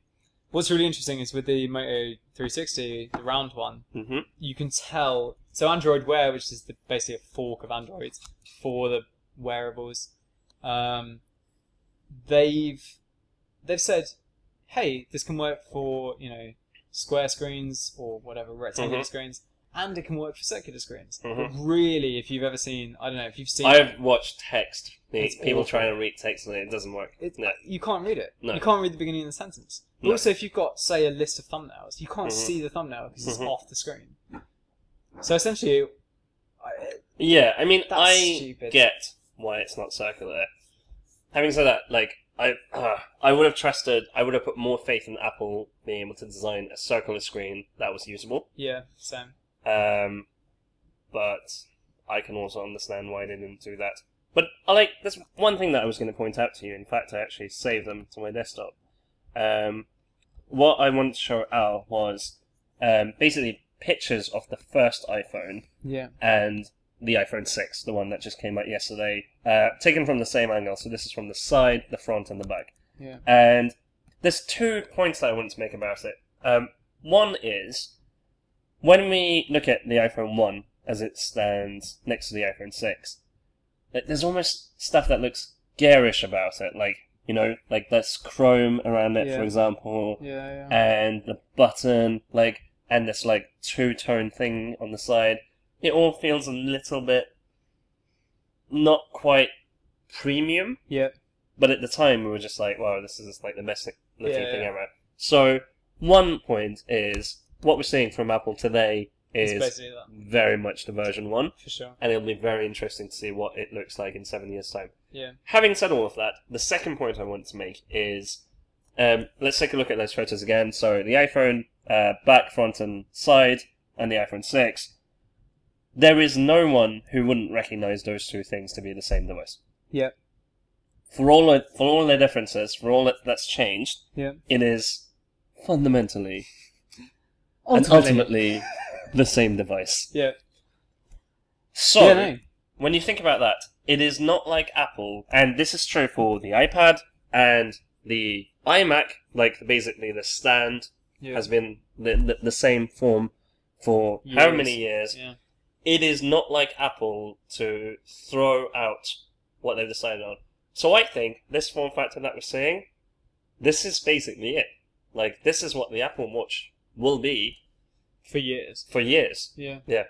Speaker 1: What's really interesting is with the Moto 360, the round one,
Speaker 2: hmm
Speaker 1: you can tell. So Android Wear, which is the, basically a fork of Android for the wearables, um, they've they've said, hey, this can work for you know square screens or whatever rectangular
Speaker 2: Mhm.
Speaker 1: screens, and it can work for circular screens.
Speaker 2: Mhm.
Speaker 1: But really, if you've ever seen, I don't know, if you've seen,
Speaker 2: I've watched text.
Speaker 1: It's
Speaker 2: People
Speaker 1: awful.
Speaker 2: try and read text and it doesn't work.
Speaker 1: It,
Speaker 2: No.
Speaker 1: You can't read it.
Speaker 2: No.
Speaker 1: You can't read the beginning of the sentence. But
Speaker 2: No.
Speaker 1: Also, if you've got, say, a list of thumbnails, you can't
Speaker 2: Mhm.
Speaker 1: see the thumbnail because
Speaker 2: Mhm.
Speaker 1: it's off the screen. So essentially, I,
Speaker 2: Yeah, I mean,
Speaker 1: That's
Speaker 2: I
Speaker 1: stupid.
Speaker 2: get why it's not circular. Having said that, like I, uh, I would have trusted, I would have put more faith in Apple being able to design a circular screen that was usable.
Speaker 1: yeah, same.
Speaker 2: Um, but I can also understand why they didn't do that. But I like there's one thing that I was going to point out to you. In fact, I actually saved them to my desktop. Um, what I wanted to show Al was um, basically pictures of the first iPhone
Speaker 1: Yeah.
Speaker 2: and the iPhone 6, the one that just came out yesterday, uh, taken from the same angle. So this is from the side, the front, and the back.
Speaker 1: Yeah.
Speaker 2: And there's two points that I wanted to make about it. Um, one is when we look at the iPhone 1 as it stands next to the iPhone 6, that there's almost stuff that looks garish about it. Like, you know, like that's chrome around it, for
Speaker 1: Yeah.
Speaker 2: example
Speaker 1: Yeah, yeah.
Speaker 2: and the button, like, and this like two tone thing on the side. It all feels a little bit not quite premium,
Speaker 1: yeah.
Speaker 2: but at the time we were just like, wow, this is like the best looking
Speaker 1: Yeah,
Speaker 2: thing
Speaker 1: yeah.
Speaker 2: ever. So one point is what we're seeing from Apple today
Speaker 1: It's
Speaker 2: is
Speaker 1: basically that,
Speaker 2: very much the version one,
Speaker 1: for sure.
Speaker 2: and it'll be very interesting to see what it looks like in seven years' time.
Speaker 1: Yeah.
Speaker 2: Having said all of that, the second point I want to make is um, let's take a look at those photos again. So the iPhone uh, back, front, and side, and the iPhone 6. There is no one who wouldn't recognize those two things to be the same device.
Speaker 1: Yeah.
Speaker 2: For all it- for all their differences, for all that, that's changed,
Speaker 1: Yeah.
Speaker 2: it is fundamentally and ultimately the same device.
Speaker 1: Yeah.
Speaker 2: So
Speaker 1: yeah, no.
Speaker 2: when you think about that, it is not like Apple, and this is true for the iPad and the iMac. Like basically, the stand
Speaker 1: Yeah.
Speaker 2: has been the, the, the same form for how
Speaker 1: Years.
Speaker 2: many years.
Speaker 1: yeah.
Speaker 2: It is not like Apple to throw out what they've decided on. So I think this form factor that we're seeing, this is basically it. Like this is what the Apple Watch will be
Speaker 1: For years.
Speaker 2: for years.
Speaker 1: Yeah.
Speaker 2: Yeah.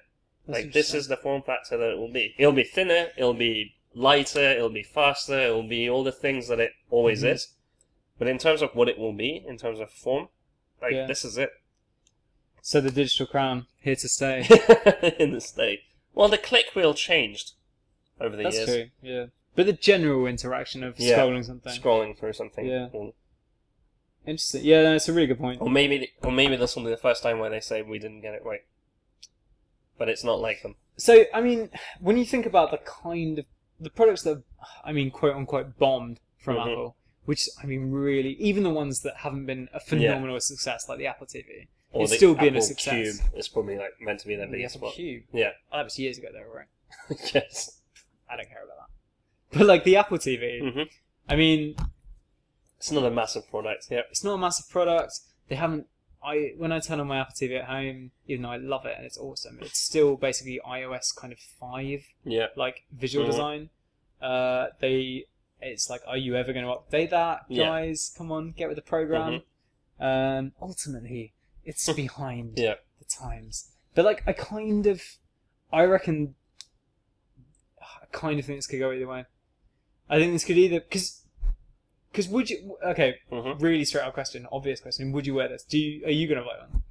Speaker 1: That's
Speaker 2: like this
Speaker 1: interesting.
Speaker 2: is the form factor that it will be. It'll be thinner, it'll be lighter, it'll be faster, it'll be all the things that it always
Speaker 1: Mhm.
Speaker 2: is. But in terms of what it will be, in terms of form, like
Speaker 1: Yeah.
Speaker 2: this is it
Speaker 1: So the digital crown here to stay.
Speaker 2: in this day. Well, the click wheel changed over the
Speaker 1: That's
Speaker 2: years.
Speaker 1: true. Yeah. But the general interaction of
Speaker 2: Yeah.
Speaker 1: scrolling something.
Speaker 2: Scrolling through something,
Speaker 1: Yeah.
Speaker 2: or,
Speaker 1: Interesting. Yeah, no, it's a really good point.
Speaker 2: or maybe, or maybe this will be the first time where they say we didn't get it right. But it's not like them.
Speaker 1: So I mean, when you think about the kind of the products that I mean, quote unquote, bombed from
Speaker 2: Mhm.
Speaker 1: Apple, which I mean, really, even the ones that haven't been a phenomenal success, like the Apple TV,
Speaker 2: Or
Speaker 1: It's
Speaker 2: the
Speaker 1: still been a
Speaker 2: Apple
Speaker 1: success.
Speaker 2: Cube is probably like meant to be their
Speaker 1: the
Speaker 2: biggest
Speaker 1: Apple
Speaker 2: spot.
Speaker 1: Cube.
Speaker 2: Yeah.
Speaker 1: Oh, that was years ago, though, right?
Speaker 2: yes.
Speaker 1: I don't care about that. But like the Apple TV,
Speaker 2: hmm
Speaker 1: I mean,
Speaker 2: It's not a massive product. Yeah.
Speaker 1: it's not a massive product. They haven't. I when I turn on my Apple TV at home, even though I love it and it's awesome, it's still basically iOS kind of five
Speaker 2: Yeah.
Speaker 1: like visual
Speaker 2: Mhm.
Speaker 1: design. Uh, they, it's like, are you ever going to update that,
Speaker 2: Yeah. Mm-hmm.
Speaker 1: guys? Come on, get with the program. Um, ultimately, it's behind
Speaker 2: Yeah.
Speaker 1: the times, but like, I kind of, I reckon, I kind of think this could go either way. I think this could either because, because would you? Okay,
Speaker 2: hmm
Speaker 1: really straight up question, obvious question. Would you wear this? Do you? Are you going to buy one?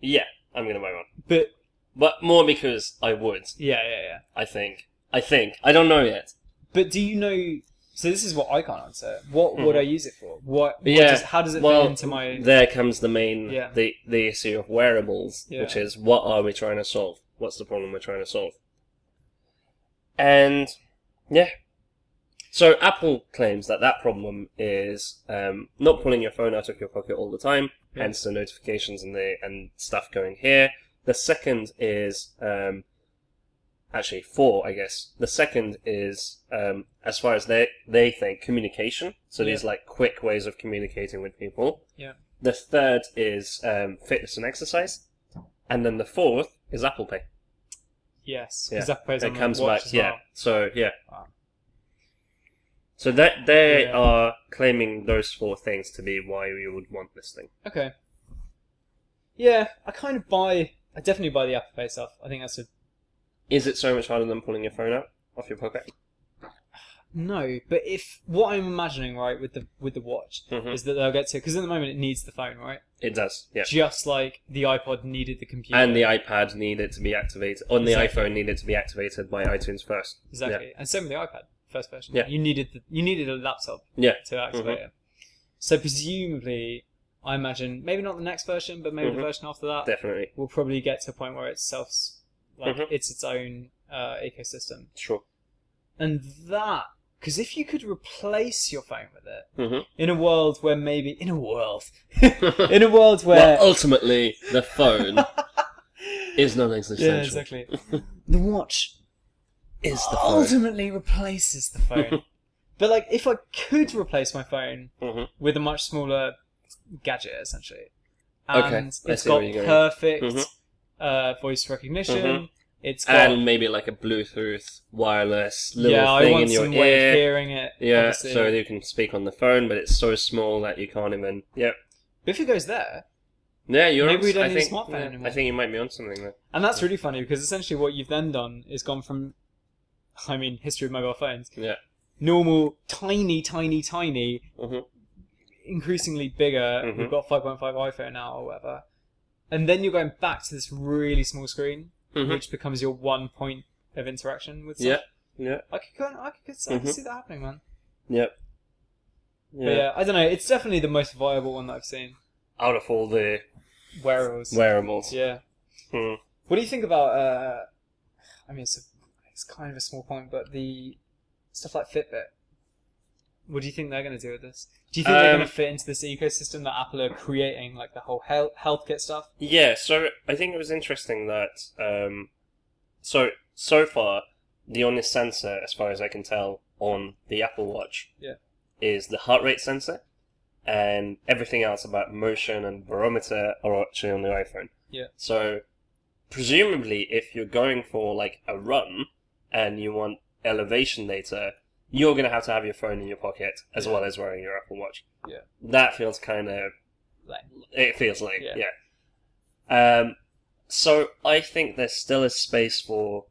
Speaker 2: Yeah. I'm gonna wear one,
Speaker 1: But
Speaker 2: but more because I would.
Speaker 1: yeah, yeah, yeah.
Speaker 2: I think. I think. I don't know yet.
Speaker 1: But do you know? So this is what I can't answer. What would I use it for? What? what
Speaker 2: Mm-hmm. Yeah,
Speaker 1: does- how does it
Speaker 2: well,
Speaker 1: fit into my?
Speaker 2: There comes the main
Speaker 1: Yeah.
Speaker 2: the the issue of wearables,
Speaker 1: Yeah.
Speaker 2: which is what are we trying to solve? What's the problem we're trying to solve? And yeah, so Apple claims that that problem is um, not pulling your phone out of your pocket all the time,
Speaker 1: Yeah.
Speaker 2: hence the notifications and the and stuff going here. The second is um, actually four, I guess. The second is, um, as far as they they think, communication. So these like quick ways of communicating with people.
Speaker 1: Yeah.
Speaker 2: The third is um, fitness and exercise, and then the fourth is Apple Pay.
Speaker 1: yes,
Speaker 2: Yeah,
Speaker 1: because that plays on
Speaker 2: It
Speaker 1: my
Speaker 2: comes
Speaker 1: watch
Speaker 2: back,
Speaker 1: as
Speaker 2: yeah.
Speaker 1: well.
Speaker 2: So yeah.
Speaker 1: Wow.
Speaker 2: So that they
Speaker 1: Yeah.
Speaker 2: are claiming those four things to be why you would want this thing.
Speaker 1: Okay. Yeah, I kind of buy. I definitely buy the Apple Pay stuff. I think that's a
Speaker 2: Is it so much harder than pulling your phone out of your pocket?
Speaker 1: no. But if what I'm imagining right with the with the watch
Speaker 2: Mhm.
Speaker 1: is that they'll get to because at the moment it needs the phone, right?
Speaker 2: It does, yeah.
Speaker 1: Just like the iPod needed the computer.
Speaker 2: And the iPad needed to be activated, on the
Speaker 1: Exactly.
Speaker 2: iPhone needed to be activated by iTunes first.
Speaker 1: Exactly. And same with the iPad, first version.
Speaker 2: Yeah.
Speaker 1: You needed the, you needed a laptop
Speaker 2: Yeah.
Speaker 1: to activate it. So presumably, I imagine maybe not the next version, but maybe
Speaker 2: Mhm.
Speaker 1: the version after that
Speaker 2: Definitely.
Speaker 1: will probably get to a point where it's self like
Speaker 2: Mhm.
Speaker 1: it's its own uh, ecosystem.
Speaker 2: Sure.
Speaker 1: And that because if you could replace your phone with it
Speaker 2: Mhm.
Speaker 1: in a world where maybe in a world in a world where
Speaker 2: Well, ultimately, the phone is non existential.
Speaker 1: yeah exactly the watch
Speaker 2: Is the phone.
Speaker 1: ultimately replaces the phone. but like, if I could replace my phone
Speaker 2: Mhm.
Speaker 1: with a much smaller gadget, essentially,
Speaker 2: Okay,
Speaker 1: and
Speaker 2: I
Speaker 1: it's
Speaker 2: see where
Speaker 1: got
Speaker 2: you're going.
Speaker 1: perfect
Speaker 2: Mhm.
Speaker 1: uh, voice recognition,
Speaker 2: Mhm.
Speaker 1: it's got
Speaker 2: And maybe like a Bluetooth wireless little
Speaker 1: yeah, I
Speaker 2: thing
Speaker 1: want
Speaker 2: in your
Speaker 1: some way of
Speaker 2: ear.
Speaker 1: hearing it.
Speaker 2: Yeah,
Speaker 1: obviously.
Speaker 2: so you can speak on the phone, but it's so small that you can't even. Yep.
Speaker 1: But if it goes there,
Speaker 2: Yeah, you're.
Speaker 1: Maybe
Speaker 2: on-
Speaker 1: we don't
Speaker 2: I
Speaker 1: need a
Speaker 2: think,
Speaker 1: smartphone
Speaker 2: yeah,
Speaker 1: anymore.
Speaker 2: I think you might be on something there.
Speaker 1: and that's really funny because essentially what you've then done is gone from, I mean, history of mobile phones,
Speaker 2: Yeah.
Speaker 1: normal, tiny, tiny, tiny,
Speaker 2: Mhm.
Speaker 1: increasingly bigger.
Speaker 2: Mhm.
Speaker 1: We've got 5.5 iPhone now or whatever. And then you're going back to this really small screen,
Speaker 2: Mhm.
Speaker 1: which becomes your one point of interaction with stuff.
Speaker 2: Yeah. Yeah.
Speaker 1: I could, go and- I could, I could
Speaker 2: Mhm.
Speaker 1: see that happening, man.
Speaker 2: Yep.
Speaker 1: But yeah, I don't know. It's definitely the most viable one that I've seen.
Speaker 2: Out of all the
Speaker 1: Wearables.
Speaker 2: wearables.
Speaker 1: Yeah.
Speaker 2: Hmm.
Speaker 1: What do you think about? Uh, I mean, it's a, it's kind of a small point, but the stuff like Fitbit. What do you think they're going to do with this? Do you think they're
Speaker 2: Um,
Speaker 1: going to fit into this ecosystem that Apple are creating, like the whole health health kit stuff?
Speaker 2: Yeah, so I think it was interesting that um, so so far the only sensor, as far as I can tell, on the Apple Watch
Speaker 1: Yeah.
Speaker 2: is the heart rate sensor, and everything else about motion and barometer are actually on the iPhone.
Speaker 1: Yeah.
Speaker 2: So presumably, if you're going for like a run and you want elevation data, you're gonna have to have your phone in your pocket as
Speaker 1: Yeah.
Speaker 2: well as wearing your Apple Watch.
Speaker 1: Yeah.
Speaker 2: That feels kind of
Speaker 1: Like,
Speaker 2: it feels like,
Speaker 1: Yeah.
Speaker 2: yeah. Um, so I think there's still a space for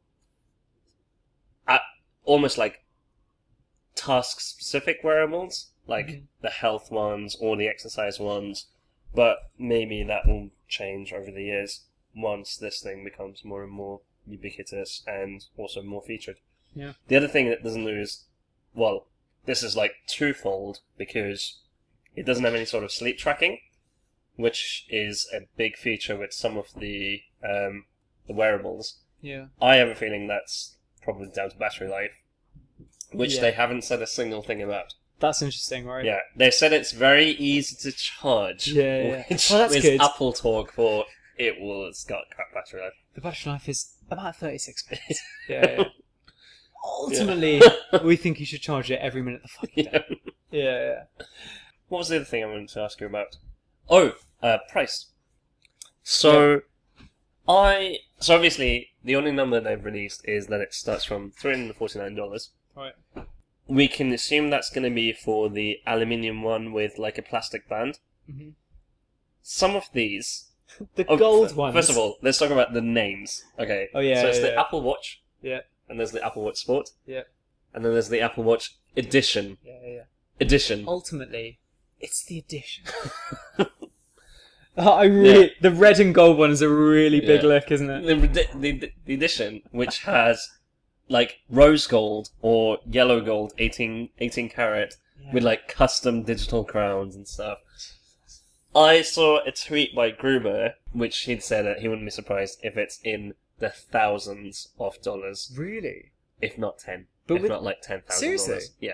Speaker 2: uh, almost like task specific wearables, like
Speaker 1: Mhm.
Speaker 2: the health ones or the exercise ones, but maybe that will change over the years once this thing becomes more and more ubiquitous and also more featured.
Speaker 1: Yeah.
Speaker 2: The other thing that doesn't lose, well, this is like twofold because it doesn't have any sort of sleep tracking which is a big feature with some of the um, the wearables.
Speaker 1: yeah,
Speaker 2: I have a feeling that's probably down to battery life, which
Speaker 1: Yeah.
Speaker 2: they haven't said a single thing about.
Speaker 1: that's interesting, right?
Speaker 2: Yeah, they said it's very easy to charge.
Speaker 1: Yeah, yeah.
Speaker 2: which
Speaker 1: Well, that's
Speaker 2: is
Speaker 1: good.
Speaker 2: Apple talk for it will it's got crap battery life.
Speaker 1: The battery life is about thirty six minutes. yeah. yeah. Ultimately, we think you should charge it every minute of the fucking day.
Speaker 2: Yeah.
Speaker 1: Yeah, yeah.
Speaker 2: What was the other thing I wanted to ask you about? Oh, uh, price. So, I so obviously the only number they've released is that it starts from three hundred and forty nine dollars.
Speaker 1: Right.
Speaker 2: We can assume that's going to be for the aluminium one with like a plastic band.
Speaker 1: Mhm.
Speaker 2: Some of these,
Speaker 1: The
Speaker 2: oh,
Speaker 1: gold
Speaker 2: f-
Speaker 1: one.
Speaker 2: First of all, let's talk about the names. Okay.
Speaker 1: Oh, yeah,
Speaker 2: So it's
Speaker 1: yeah,
Speaker 2: the
Speaker 1: yeah.
Speaker 2: Apple Watch.
Speaker 1: Yeah.
Speaker 2: And there's the Apple Watch Sport.
Speaker 1: Yeah.
Speaker 2: And then there's the Apple Watch Edition.
Speaker 1: Yeah, yeah, yeah.
Speaker 2: Edition.
Speaker 1: Ultimately, it's the addition. I really, the red and gold one is a really big
Speaker 2: Yeah.
Speaker 1: look, isn't it?
Speaker 2: the, redi- the, the edition which has like rose gold or yellow gold 18, 18 carat
Speaker 1: Yeah.
Speaker 2: with like custom digital crowns and stuff i saw a tweet by gruber which he'd said that he wouldn't be surprised if it's in the thousands of dollars
Speaker 1: Really?
Speaker 2: if not 10
Speaker 1: But
Speaker 2: if
Speaker 1: with-
Speaker 2: not like $10000
Speaker 1: Seriously?
Speaker 2: yeah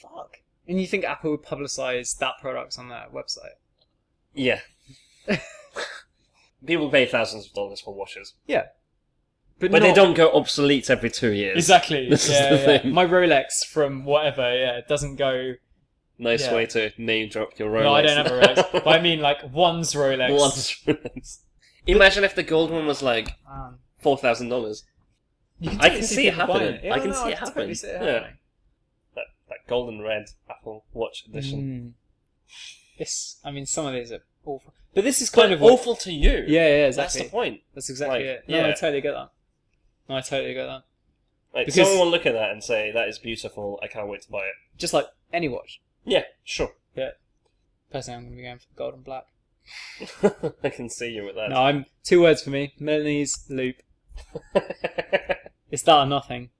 Speaker 1: Fuck. And you think Apple would publicise that product on their website?
Speaker 2: yeah people pay thousands of dollars for watches but, they
Speaker 1: not-
Speaker 2: don't go obsolete every two years
Speaker 1: Exactly.
Speaker 2: This is
Speaker 1: yeah,
Speaker 2: the
Speaker 1: yeah.
Speaker 2: thing.
Speaker 1: My Rolex from whatever, yeah, it doesn't go.
Speaker 2: nice
Speaker 1: Yeah.
Speaker 2: way to name drop your Rolex
Speaker 1: No, I don't have a Rolex. but I mean, like, one's Rolex.
Speaker 2: Imagine if the gold one was like
Speaker 1: Um,
Speaker 2: four thousand dollars.
Speaker 1: you
Speaker 2: I
Speaker 1: totally
Speaker 2: can see it
Speaker 1: people buying
Speaker 2: happening. I can see it
Speaker 1: totally
Speaker 2: happening.
Speaker 1: see it
Speaker 2: Yeah.
Speaker 1: happening.
Speaker 2: That, that golden red Apple Watch edition.
Speaker 1: Mm. This, I mean, some of these are awful. But this is
Speaker 2: It's kind
Speaker 1: kind
Speaker 2: of
Speaker 1: of what-
Speaker 2: awful to you.
Speaker 1: Yeah, yeah,
Speaker 2: that's
Speaker 1: exactly.
Speaker 2: the point.
Speaker 1: That's exactly
Speaker 2: Like,
Speaker 1: it. No, I
Speaker 2: yeah.
Speaker 1: totally get that. No, I totally get that.
Speaker 2: Like,
Speaker 1: Because-
Speaker 2: someone will look at that and say, "That is beautiful. I can't wait to buy it."
Speaker 1: Just like any watch.
Speaker 2: Yeah, sure.
Speaker 1: Personally, I'm going to be going for the gold and black.
Speaker 2: I can see you with that.
Speaker 1: No, I'm two words for me: Milanese loop. It's that or nothing.